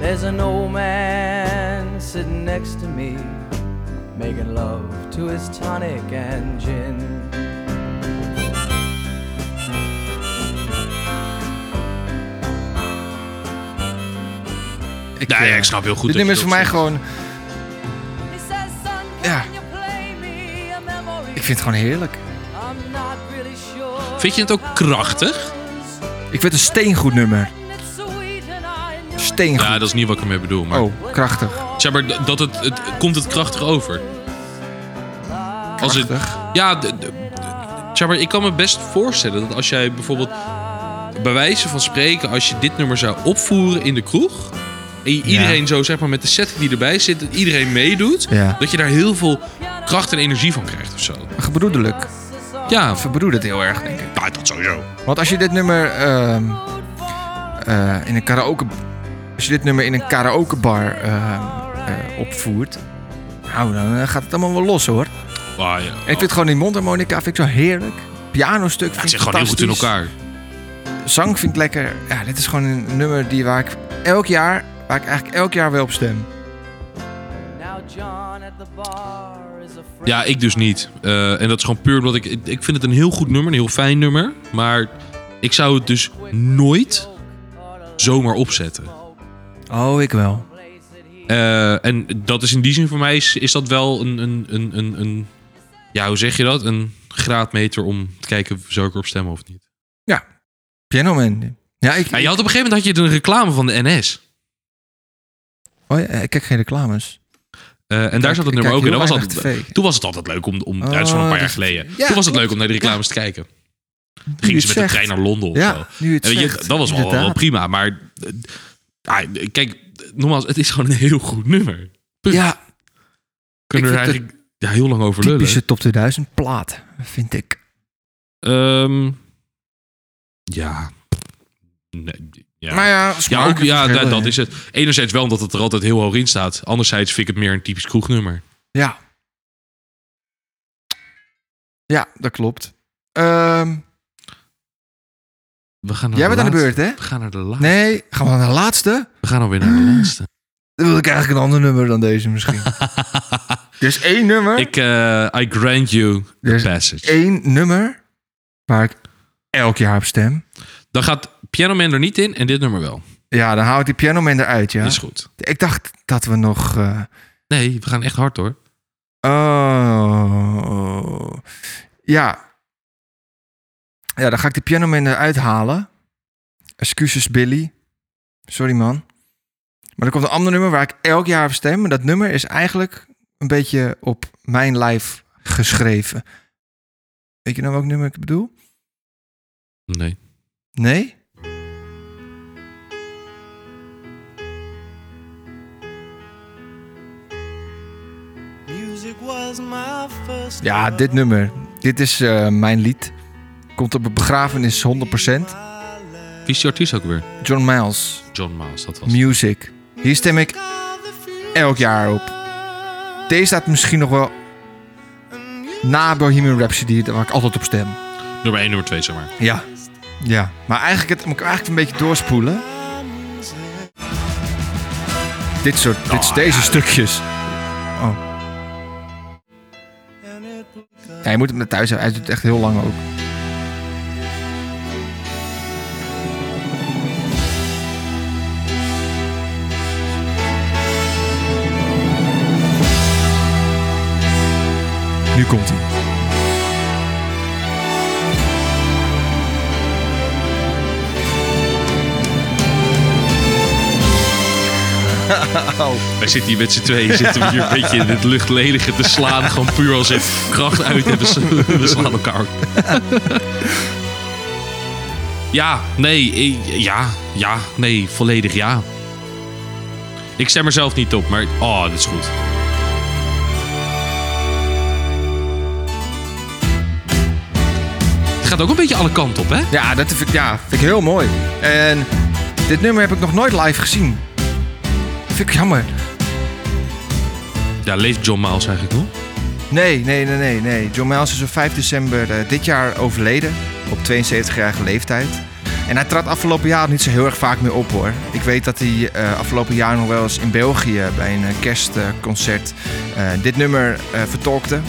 S6: There's an old man sitting next to me, making love to his tonic and gin.
S2: Ik,
S1: nou ja, ja,
S2: eh,
S1: ik snap heel goed.
S2: Dit
S1: dat je
S2: nummer is voor mij
S1: dat zegt.
S2: gewoon...
S7: He says, son,
S2: Ja.
S7: can you play me a memory?
S2: Ik vind het gewoon heerlijk.
S7: I'm not really sure
S1: Vind je het ook krachtig?
S2: Ik vind het een steengoed nummer.
S7: And it's sweet and I know it's
S2: Steengoed.
S1: Ja, dat is niet wat ik ermee bedoel. Maar,
S2: Oh, krachtig.
S1: zeg maar d- dat het, het, komt het krachtig over? Als het,
S2: Krachtig.
S1: ja, d- d- d- zeg maar, ik kan me best voorstellen dat als jij bijvoorbeeld... Bij wijze van spreken, als je dit nummer zou opvoeren in de kroeg... En je iedereen zo, zeg maar, met de set die erbij zit... dat iedereen meedoet...
S2: Ja.
S1: Dat je daar heel veel kracht en energie van krijgt of zo.
S2: Gebroedelijk.
S1: Ja,
S2: Ze bedoelen het heel erg, denk ik.
S1: nou, dat sowieso.
S2: Want als je dit nummer ehm, eh, in een karaoke, als je dit nummer in een karaokebar ehm, eh, opvoert, nou dan eh, gaat het allemaal wel los hoor. En
S1: Ah, ja.
S2: ik vind het gewoon die mondharmonica vind ik zo heerlijk. Pianostuk
S1: Ja, het
S2: vind ik
S1: zit gewoon heel goed in
S2: fantastisch.
S1: elkaar.
S2: Zang vind ik lekker. Ja, dit is gewoon een nummer die waar ik elk jaar, waar ik eigenlijk elk jaar wel op stem.
S6: Now John at the bar is afraid.
S1: Ja, ik dus niet. Eh, en dat is gewoon puur omdat ik... Ik vind het een heel goed nummer, een heel fijn nummer. Maar ik zou het dus nooit zomaar opzetten.
S2: Oh, ik wel.
S1: Eh, en dat is in die zin voor mij... Is, is dat wel een, een, een, een, een... Ja, hoe zeg je dat? Een graadmeter om te kijken... zou ik erop stemmen of niet?
S2: Ja, Piano Man. Ja, ik,
S1: Ja, je had op een gegeven moment had je een reclame van de NS.
S2: oh ja, ik kijk geen reclames.
S1: Eh, en daar
S2: Kijk,
S1: zat het
S2: ik
S1: nummer
S2: kijk
S1: ook in.
S2: heel
S1: Dat was
S2: weinig
S1: altijd,
S2: tv.
S1: toen was het altijd leuk om... om ja, dat is
S2: Oh,
S1: van een paar
S2: dat
S1: jaar
S2: is-
S1: geleden.
S2: ja,
S1: toen was het
S2: klopt.
S1: leuk om naar die reclames te kijken. Dan gingen ze met
S2: het
S1: de
S2: zegt.
S1: trein naar Londen of zo.
S2: Ja, nu je het
S1: En weet je,
S2: zegt,
S1: dat was wel, wel
S2: inderdaad.
S1: prima. Maar eh, ah, kijk, nogmaals, het is gewoon een heel goed nummer. Punt.
S2: Ja,
S1: Kunnen we
S2: ik
S1: er
S2: vind het
S1: eigenlijk ja, heel lang over lullen.
S2: typische top 2000 plaat, vind ik.
S1: Ehm, ja. Nee, ja.
S2: Maar ja,
S1: ja,
S2: smaak
S1: ook, ja
S2: verschillen,
S1: dat, dat
S2: hè.
S1: is het. Enerzijds wel omdat het er altijd heel hoog in staat. Anderzijds vind ik het meer een typisch kroegnummer.
S2: Ja. Ja, dat klopt. Ehm,
S1: We gaan naar
S2: jij
S1: de
S2: bent aan de
S1: laatste.
S2: beurt, hè?
S1: We gaan naar de laatste.
S2: Nee, gaan we naar de laatste?
S1: We gaan alweer naar de laatste.
S2: Dan wil ik eigenlijk een ander nummer dan deze misschien. er is Dus één nummer.
S1: Ik, eh, I grant you the
S2: Er is
S1: passage.
S2: één nummer waar ik elk jaar op stem.
S1: Dan gaat Piano Man er niet in en dit nummer wel.
S2: Ja, dan haal ik die piano man eruit, ja.
S1: Is goed.
S2: Ik dacht dat we nog... eh,
S1: Nee, we gaan echt hard hoor.
S2: Oh. Ja. Ja, dan ga ik de pianoman eruit halen. Excuses, Billy. Sorry, man. Maar er komt een ander nummer waar ik elk jaar op stem. En dat nummer is eigenlijk een beetje op mijn lijf geschreven. Weet je nou welk nummer ik bedoel?
S1: Nee.
S2: Nee?
S5: Music was my first
S2: Ja, dit nummer. Dit is eh, mijn lied. Komt op een begrafenis 100%.
S1: Wie is die artiest ook weer?
S2: John Miles.
S1: John Miles, dat was het.
S2: Music. Hier stem ik elk jaar op. Deze staat misschien nog wel na Bohemian Rhapsody, daar waar ik altijd op stem.
S1: Nummer 1, nummer 2 zomaar.
S2: Ja. Ja. Maar eigenlijk het, moet ik eigenlijk een beetje doorspoelen. Dit soort, dit, deze stukjes. Oh. Ja, je moet hem naar thuis hebben. Hij doet echt heel lang ook. Nu komt hij.
S1: Wij zitten hier met z'n tweeën, zitten we hier een beetje in het luchtledige te slaan. Gewoon puur als het kracht uit en we, sla- we slaan elkaar. Ja, nee, ik- ja, ja, nee, volledig ja. Ik stem er zelf niet op, maar oh, dit is goed. Het gaat ook een beetje alle kanten op, hè?
S2: Ja, dat vind ik, ja, vind ik heel mooi. En dit nummer heb ik nog nooit live gezien. Vind ik jammer.
S1: Ja, leeft John Miles eigenlijk nog?
S2: Nee, nee, nee, nee, nee. John Miles is op 5 december eh, dit jaar overleden. Op 72-jarige leeftijd. En hij trad afgelopen jaar niet zo heel erg vaak meer op hoor. Ik weet dat hij eh, afgelopen jaar nog wel eens in België bij een eh, kerstconcert eh, dit nummer eh, vertolkte.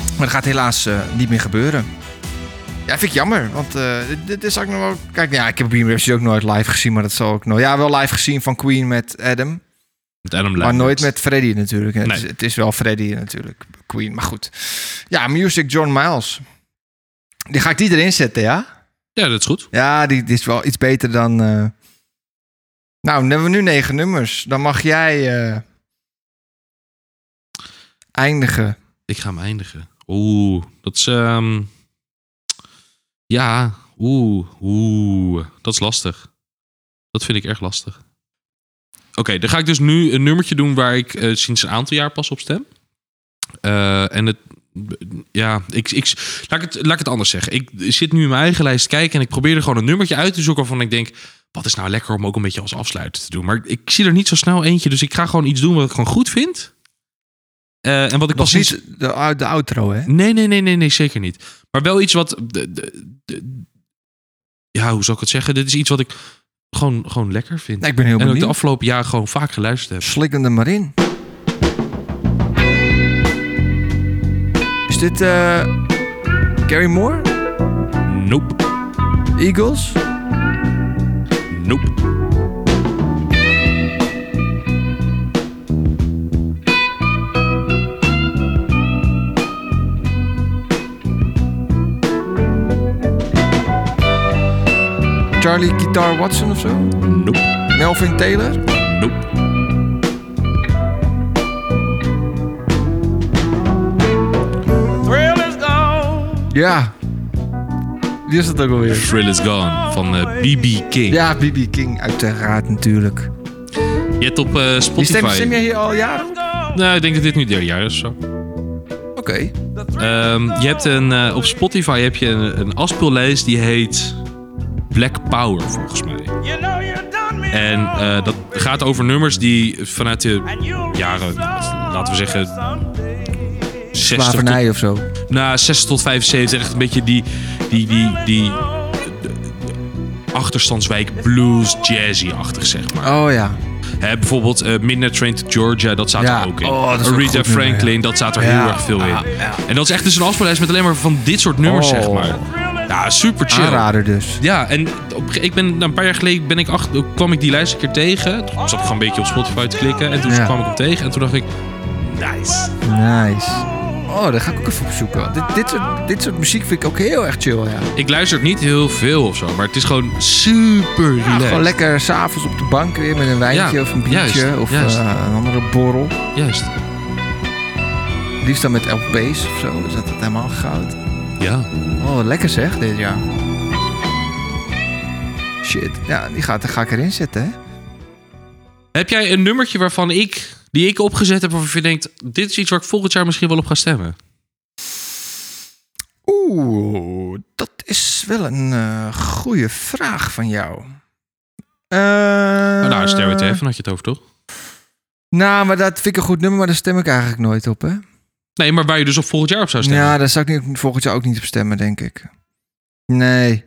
S2: Maar dat gaat helaas eh, niet meer gebeuren. Ja, vind ik jammer, want eh, dit, dit is ook nog wel... Kijk, ja, ik heb Beam Rhapsody ook nooit live gezien, maar dat zal ook nooit... Ja, wel live gezien van Queen met Adam.
S1: Met Adam
S2: Maar
S1: Lambert.
S2: nooit met Freddy natuurlijk. Het,
S1: Nee.
S2: is, het is wel Freddy natuurlijk, Queen. Maar goed. Ja, Music John Miles. Die ga ik die erin zetten, ja?
S1: Ja, dat is goed.
S2: Ja, die, die is wel iets beter dan... eh. Nou, dan hebben we nu negen nummers. Dan mag jij eh, eindigen.
S1: Ik ga hem eindigen. Oeh, dat is. ehm, Ja, oeh, oeh. Dat is lastig. Dat vind ik erg lastig. Oké, dan ga ik dus nu een nummertje doen waar ik eh, sinds een aantal jaar pas op stem. Eh, en het. Ja, ik, ik, laat, ik het, laat ik het anders zeggen. Ik zit nu in mijn eigen lijst te kijken en ik probeer er gewoon een nummertje uit te zoeken waarvan ik denk. Wat is nou lekker om ook een beetje als afsluiter te doen? Maar ik zie er niet zo snel eentje, dus ik ga gewoon iets doen wat ik gewoon goed vind. Eh, en wat ik pas
S2: Nog
S1: sinds-
S2: niet de, de outro, hè?
S1: Nee, nee, nee, nee, nee, zeker niet. Maar wel iets wat. de- de- de- ja, hoe zou ik het zeggen? Dit is iets wat ik gewoon, gewoon lekker vind.
S2: Nou, ik ben heel
S1: en ook de
S2: benieuwd.
S1: afgelopen jaren gewoon vaak geluisterd heb.
S2: Slik hem er maar in. Is dit eh Gary Moore?
S1: Nope,
S2: Eagles?
S1: nope.
S2: Charlie Guitar Watson of zo?
S1: Nope,
S2: Melvin Taylor?
S1: nope.
S4: Thrill is gone.
S2: Ja. Wie is dat ook alweer?
S1: Thrill is Gone van eh, BB King.
S2: Ja, B.B. King uiteraard natuurlijk.
S1: Je hebt op eh,
S2: Die stem,
S1: Spotify...
S2: stem jij hier al jaren?
S1: Nou, ik denk dat dit nu het derde jaar is of zo.
S2: Oké.
S1: Ehm, je hebt een, eh, op Spotify heb je een, een afspeellijst die heet Black Power, volgens mij.
S4: You know you done me
S1: En eh, dat gaat over nummers die vanuit de jaren, laten we zeggen, 60 tot,
S2: Slavernij of zo.
S1: nou, 60 tot 75, echt een beetje die, die, die, die eh, achterstandswijk blues jazzy-achtig, zeg maar.
S2: Oh ja.
S1: Hè, bijvoorbeeld eh, Midnight Train to Georgia, dat staat
S2: Ja.
S1: er ook in.
S2: Oh, dat is ook
S1: Aretha
S2: een goed nummer,
S1: Franklin, dat staat er
S2: Ja.
S1: heel erg veel in.
S2: Ja, ja.
S1: En dat is echt dus een afspeellijst met alleen maar van dit soort nummers,
S2: Oh.
S1: zeg maar. Ja, super chill.
S2: Aanrader dus.
S1: Ja, en op, een ge- ik ben, nou, een paar jaar geleden ben ik achter, kwam ik die lijst een keer tegen. Toen zat ik gewoon een beetje op Spotify te klikken. En toen
S2: Ja.
S1: kwam ik hem tegen. En toen dacht ik, nice.
S2: Nice. Oh, daar ga ik ook even op zoeken. Dit, dit, soort, dit soort muziek vind ik ook heel erg chill, ja.
S1: Ik luister het niet heel veel of zo. Maar het is gewoon super
S2: Ja,
S1: relaxed.
S2: Gewoon lekker s'avonds op de bank weer met een wijntje
S1: Ja,
S2: of een biertje
S1: juist,
S2: of
S1: juist.
S2: eh, een andere borrel.
S1: Juist.
S2: Liefst dan met LP's of zo, is dat het helemaal goud.
S1: Ja.
S2: Oh, wat lekker zeg dit jaar. Shit, ja, die gaat, daar ga ik erin zetten, hè?
S1: Heb jij een nummertje waarvan ik, die ik opgezet heb, waarvan je denkt, dit is iets waar ik volgend jaar misschien wel op ga stemmen?
S2: Oeh, dat is wel een eh goede vraag van jou. Eh,
S1: nou, Stairway to Heaven had je het over, toch?
S2: Nou, maar dat vind ik een goed nummer, maar daar stem ik eigenlijk nooit op, hè?
S1: Nee, maar waar je dus op volgend jaar op zou stemmen.
S2: Ja, daar zou ik nu volgend jaar ook niet op stemmen, denk ik. Nee.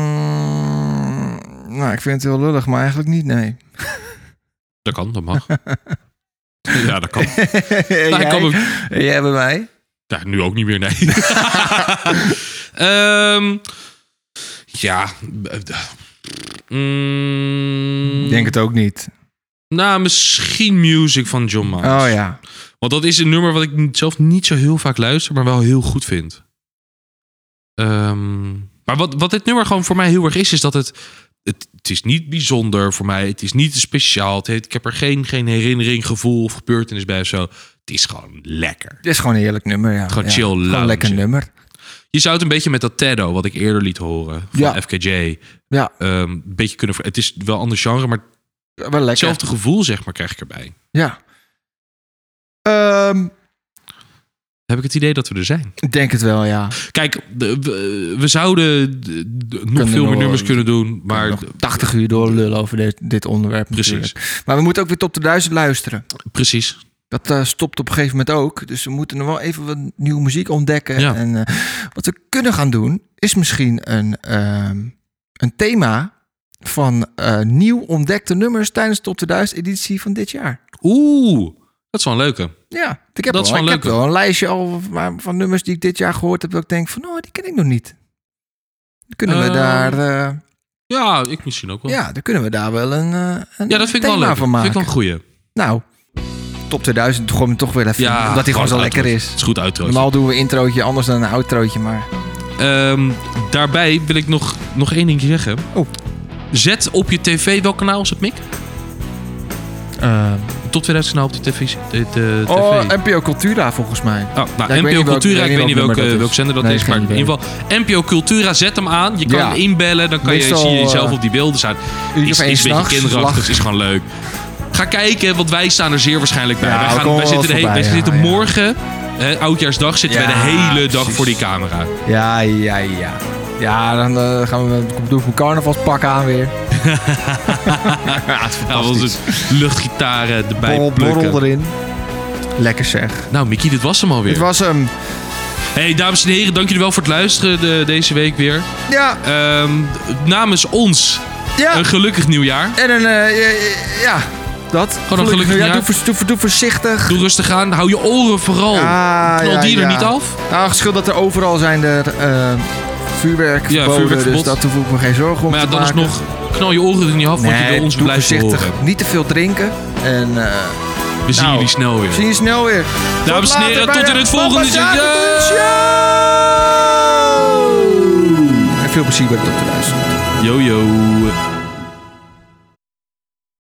S2: Ehm, nou, ik vind het heel lullig, maar eigenlijk niet, nee.
S1: Dat kan, dat mag. ja, dat kan.
S2: jij,
S1: kan ook.
S2: jij bij mij?
S1: Ja, nu ook niet meer, nee. Ehm, ja. eh, Mm,
S2: Ik denk het ook niet.
S1: Nou, misschien Music van John Miles.
S2: Oh ja.
S1: Want dat is een nummer wat ik n- zelf niet zo heel vaak luister, maar wel heel goed vind. Ehm, maar wat, wat dit nummer gewoon voor mij heel erg is, is dat het... Het, het is niet bijzonder voor mij. Het is niet speciaal. Het heeft, ik heb er geen, geen herinnering, gevoel of gebeurtenis bij of zo. Het is gewoon lekker.
S2: Dit is gewoon een heerlijk nummer, ja.
S1: Gewoon
S2: Ja.
S1: chill,
S2: Gewoon
S1: lounge.
S2: een lekker nummer.
S1: Je zou het een beetje met dat Teddo, wat ik eerder liet horen, van
S2: Ja.
S1: FKJ,
S2: Ja,
S1: ehm, een beetje kunnen... ver- Het is wel een ander genre, maar
S2: wel lekker.
S1: hetzelfde gevoel, zeg maar, krijg ik erbij.
S2: Ja. Ehm,
S1: Heb ik het idee dat we er zijn.
S2: ik denk het wel, ja.
S1: Kijk, de- we, we zouden de- de- nog veel
S2: nog-
S1: meer nummers kunnen doen, maar...
S2: Nog 80 uur doorlullen over dit, dit onderwerp
S1: Precies.
S2: natuurlijk. Maar we moeten ook weer tot de duizend luisteren.
S1: Precies.
S2: Dat eh, stopt op een gegeven moment ook. Dus we moeten nog wel even wat nieuwe muziek ontdekken.
S1: Ja.
S2: En eh, wat we kunnen gaan doen, is misschien een, ehm, een thema van eh, nieuw ontdekte nummers tijdens de Top 2000 editie van dit jaar.
S1: Oeh, dat is wel een leuke.
S2: Ja, ik heb,
S1: Dat is
S2: wel,
S1: wel
S2: ik heb
S1: leuk.
S2: wel een lijstje al van, van nummers die ik dit jaar gehoord heb. Dat ik denk van, oh, die ken ik nog niet. Dan kunnen we
S1: Ehm,
S2: daar, eh,
S1: Ja, ik misschien ook wel. Ja,
S2: ja, dan kunnen we daar wel een, eh, een
S1: dat vind ik
S2: thema
S1: wel leuk.
S2: van
S1: Dat vind
S2: maken.
S1: ik wel een goeie.
S2: Nou, Top 2000 gooi hem toch weer even.
S1: Ja,
S2: omdat hij gewoon zo
S1: een
S2: lekker
S1: outrootje.
S2: is.
S1: Het is goed uitrood.
S2: Normaal doen we een introotje anders dan een outrootje, maar...
S1: Ehm, daarbij wil ik nog, nog één dingetje zeggen.
S2: Oh.
S1: Zet op je tv, welk kanaal is het, Mick? Eh, Tot 2000 kanaal op de tv. De, de,
S2: oh,
S1: tv.
S2: NPO Cultura volgens mij.
S1: Oh, nou,
S2: Ja, ik weet
S1: NPO
S2: niet welk-
S1: Cultura, ik weet niet welke,
S2: nummer dat
S1: welke,
S2: is.
S1: zender dat
S2: Nee,
S1: is, maar
S2: geen
S1: in ieder geval NPO Cultura, zet hem aan. Je kan
S2: Ja.
S1: inbellen, dan kan je,
S2: Meestal,
S1: zie je jezelf
S2: eh,
S1: op die beelden staan.
S2: uur of
S1: Is, is
S2: één
S1: een beetje
S2: s'nachts,
S1: kinderachtig,
S2: lach.
S1: is gewoon leuk. Ga kijken, want wij staan er zeer waarschijnlijk bij.
S2: Ja,
S1: wij
S2: we
S1: gaan,
S2: komen
S1: wij
S2: wel
S1: zitten, de hele-
S2: voorbij,
S1: wij
S2: ja,
S1: zitten
S2: ja.
S1: morgen, hè, oudjaarsdag, zitten wij de
S2: Ja,
S1: hele dag
S2: precies.
S1: voor die camera.
S2: Ja, ja, ja. Ja, dan eh, gaan we, dan doe ik mijn carnavalspak aan weer. ja, het is
S1: Ja,
S2: fantastisch.
S1: Nou, onze luchtgitaren erbij
S2: Borrel-
S1: plukken.
S2: borrel erin. Lekker zeg.
S1: Nou, Mickey, dit was hem alweer.
S2: Het was hem.
S1: Hey, dames en heren, dank jullie wel voor het luisteren de- deze week weer.
S2: Ja,
S1: Ehm, namens ons,
S2: ja.
S1: een gelukkig nieuwjaar.
S2: En een... eh, ja, ja, dat. Gewoon
S1: een gelukkig
S2: ja,
S1: jaar.
S2: doe, voor- doe, voor- doe voorzichtig.
S1: Doe rustig aan. Hou je oren vooral.
S2: Ah,
S1: Oh, Knal
S2: ja,
S1: die er
S2: ja.
S1: niet af.
S2: Nou, het scheelt dat er overal zijn er eh, vuurwerk
S1: Ja,
S2: verboden, dus
S1: vuurwerkverbod.
S2: dat hoef ik me geen zorgen om
S1: Maar ja,
S2: te
S1: dan is
S2: maken.
S1: nog... Knal je oren er niet af, want je wil ons
S2: doe
S1: blijven
S2: voorzichtig.
S1: horen.
S2: Niet te veel drinken. En eh,
S1: We zien
S2: Nou,
S1: jullie snel weer.
S2: zie je snel weer.
S1: Dames en
S2: later
S1: heren,
S2: bij
S1: tot
S2: de
S1: in het
S2: Papa
S1: volgende
S2: Zaken
S1: seizoen.
S2: Show! En veel plezier bij de Top 2000.
S1: Yo, yo.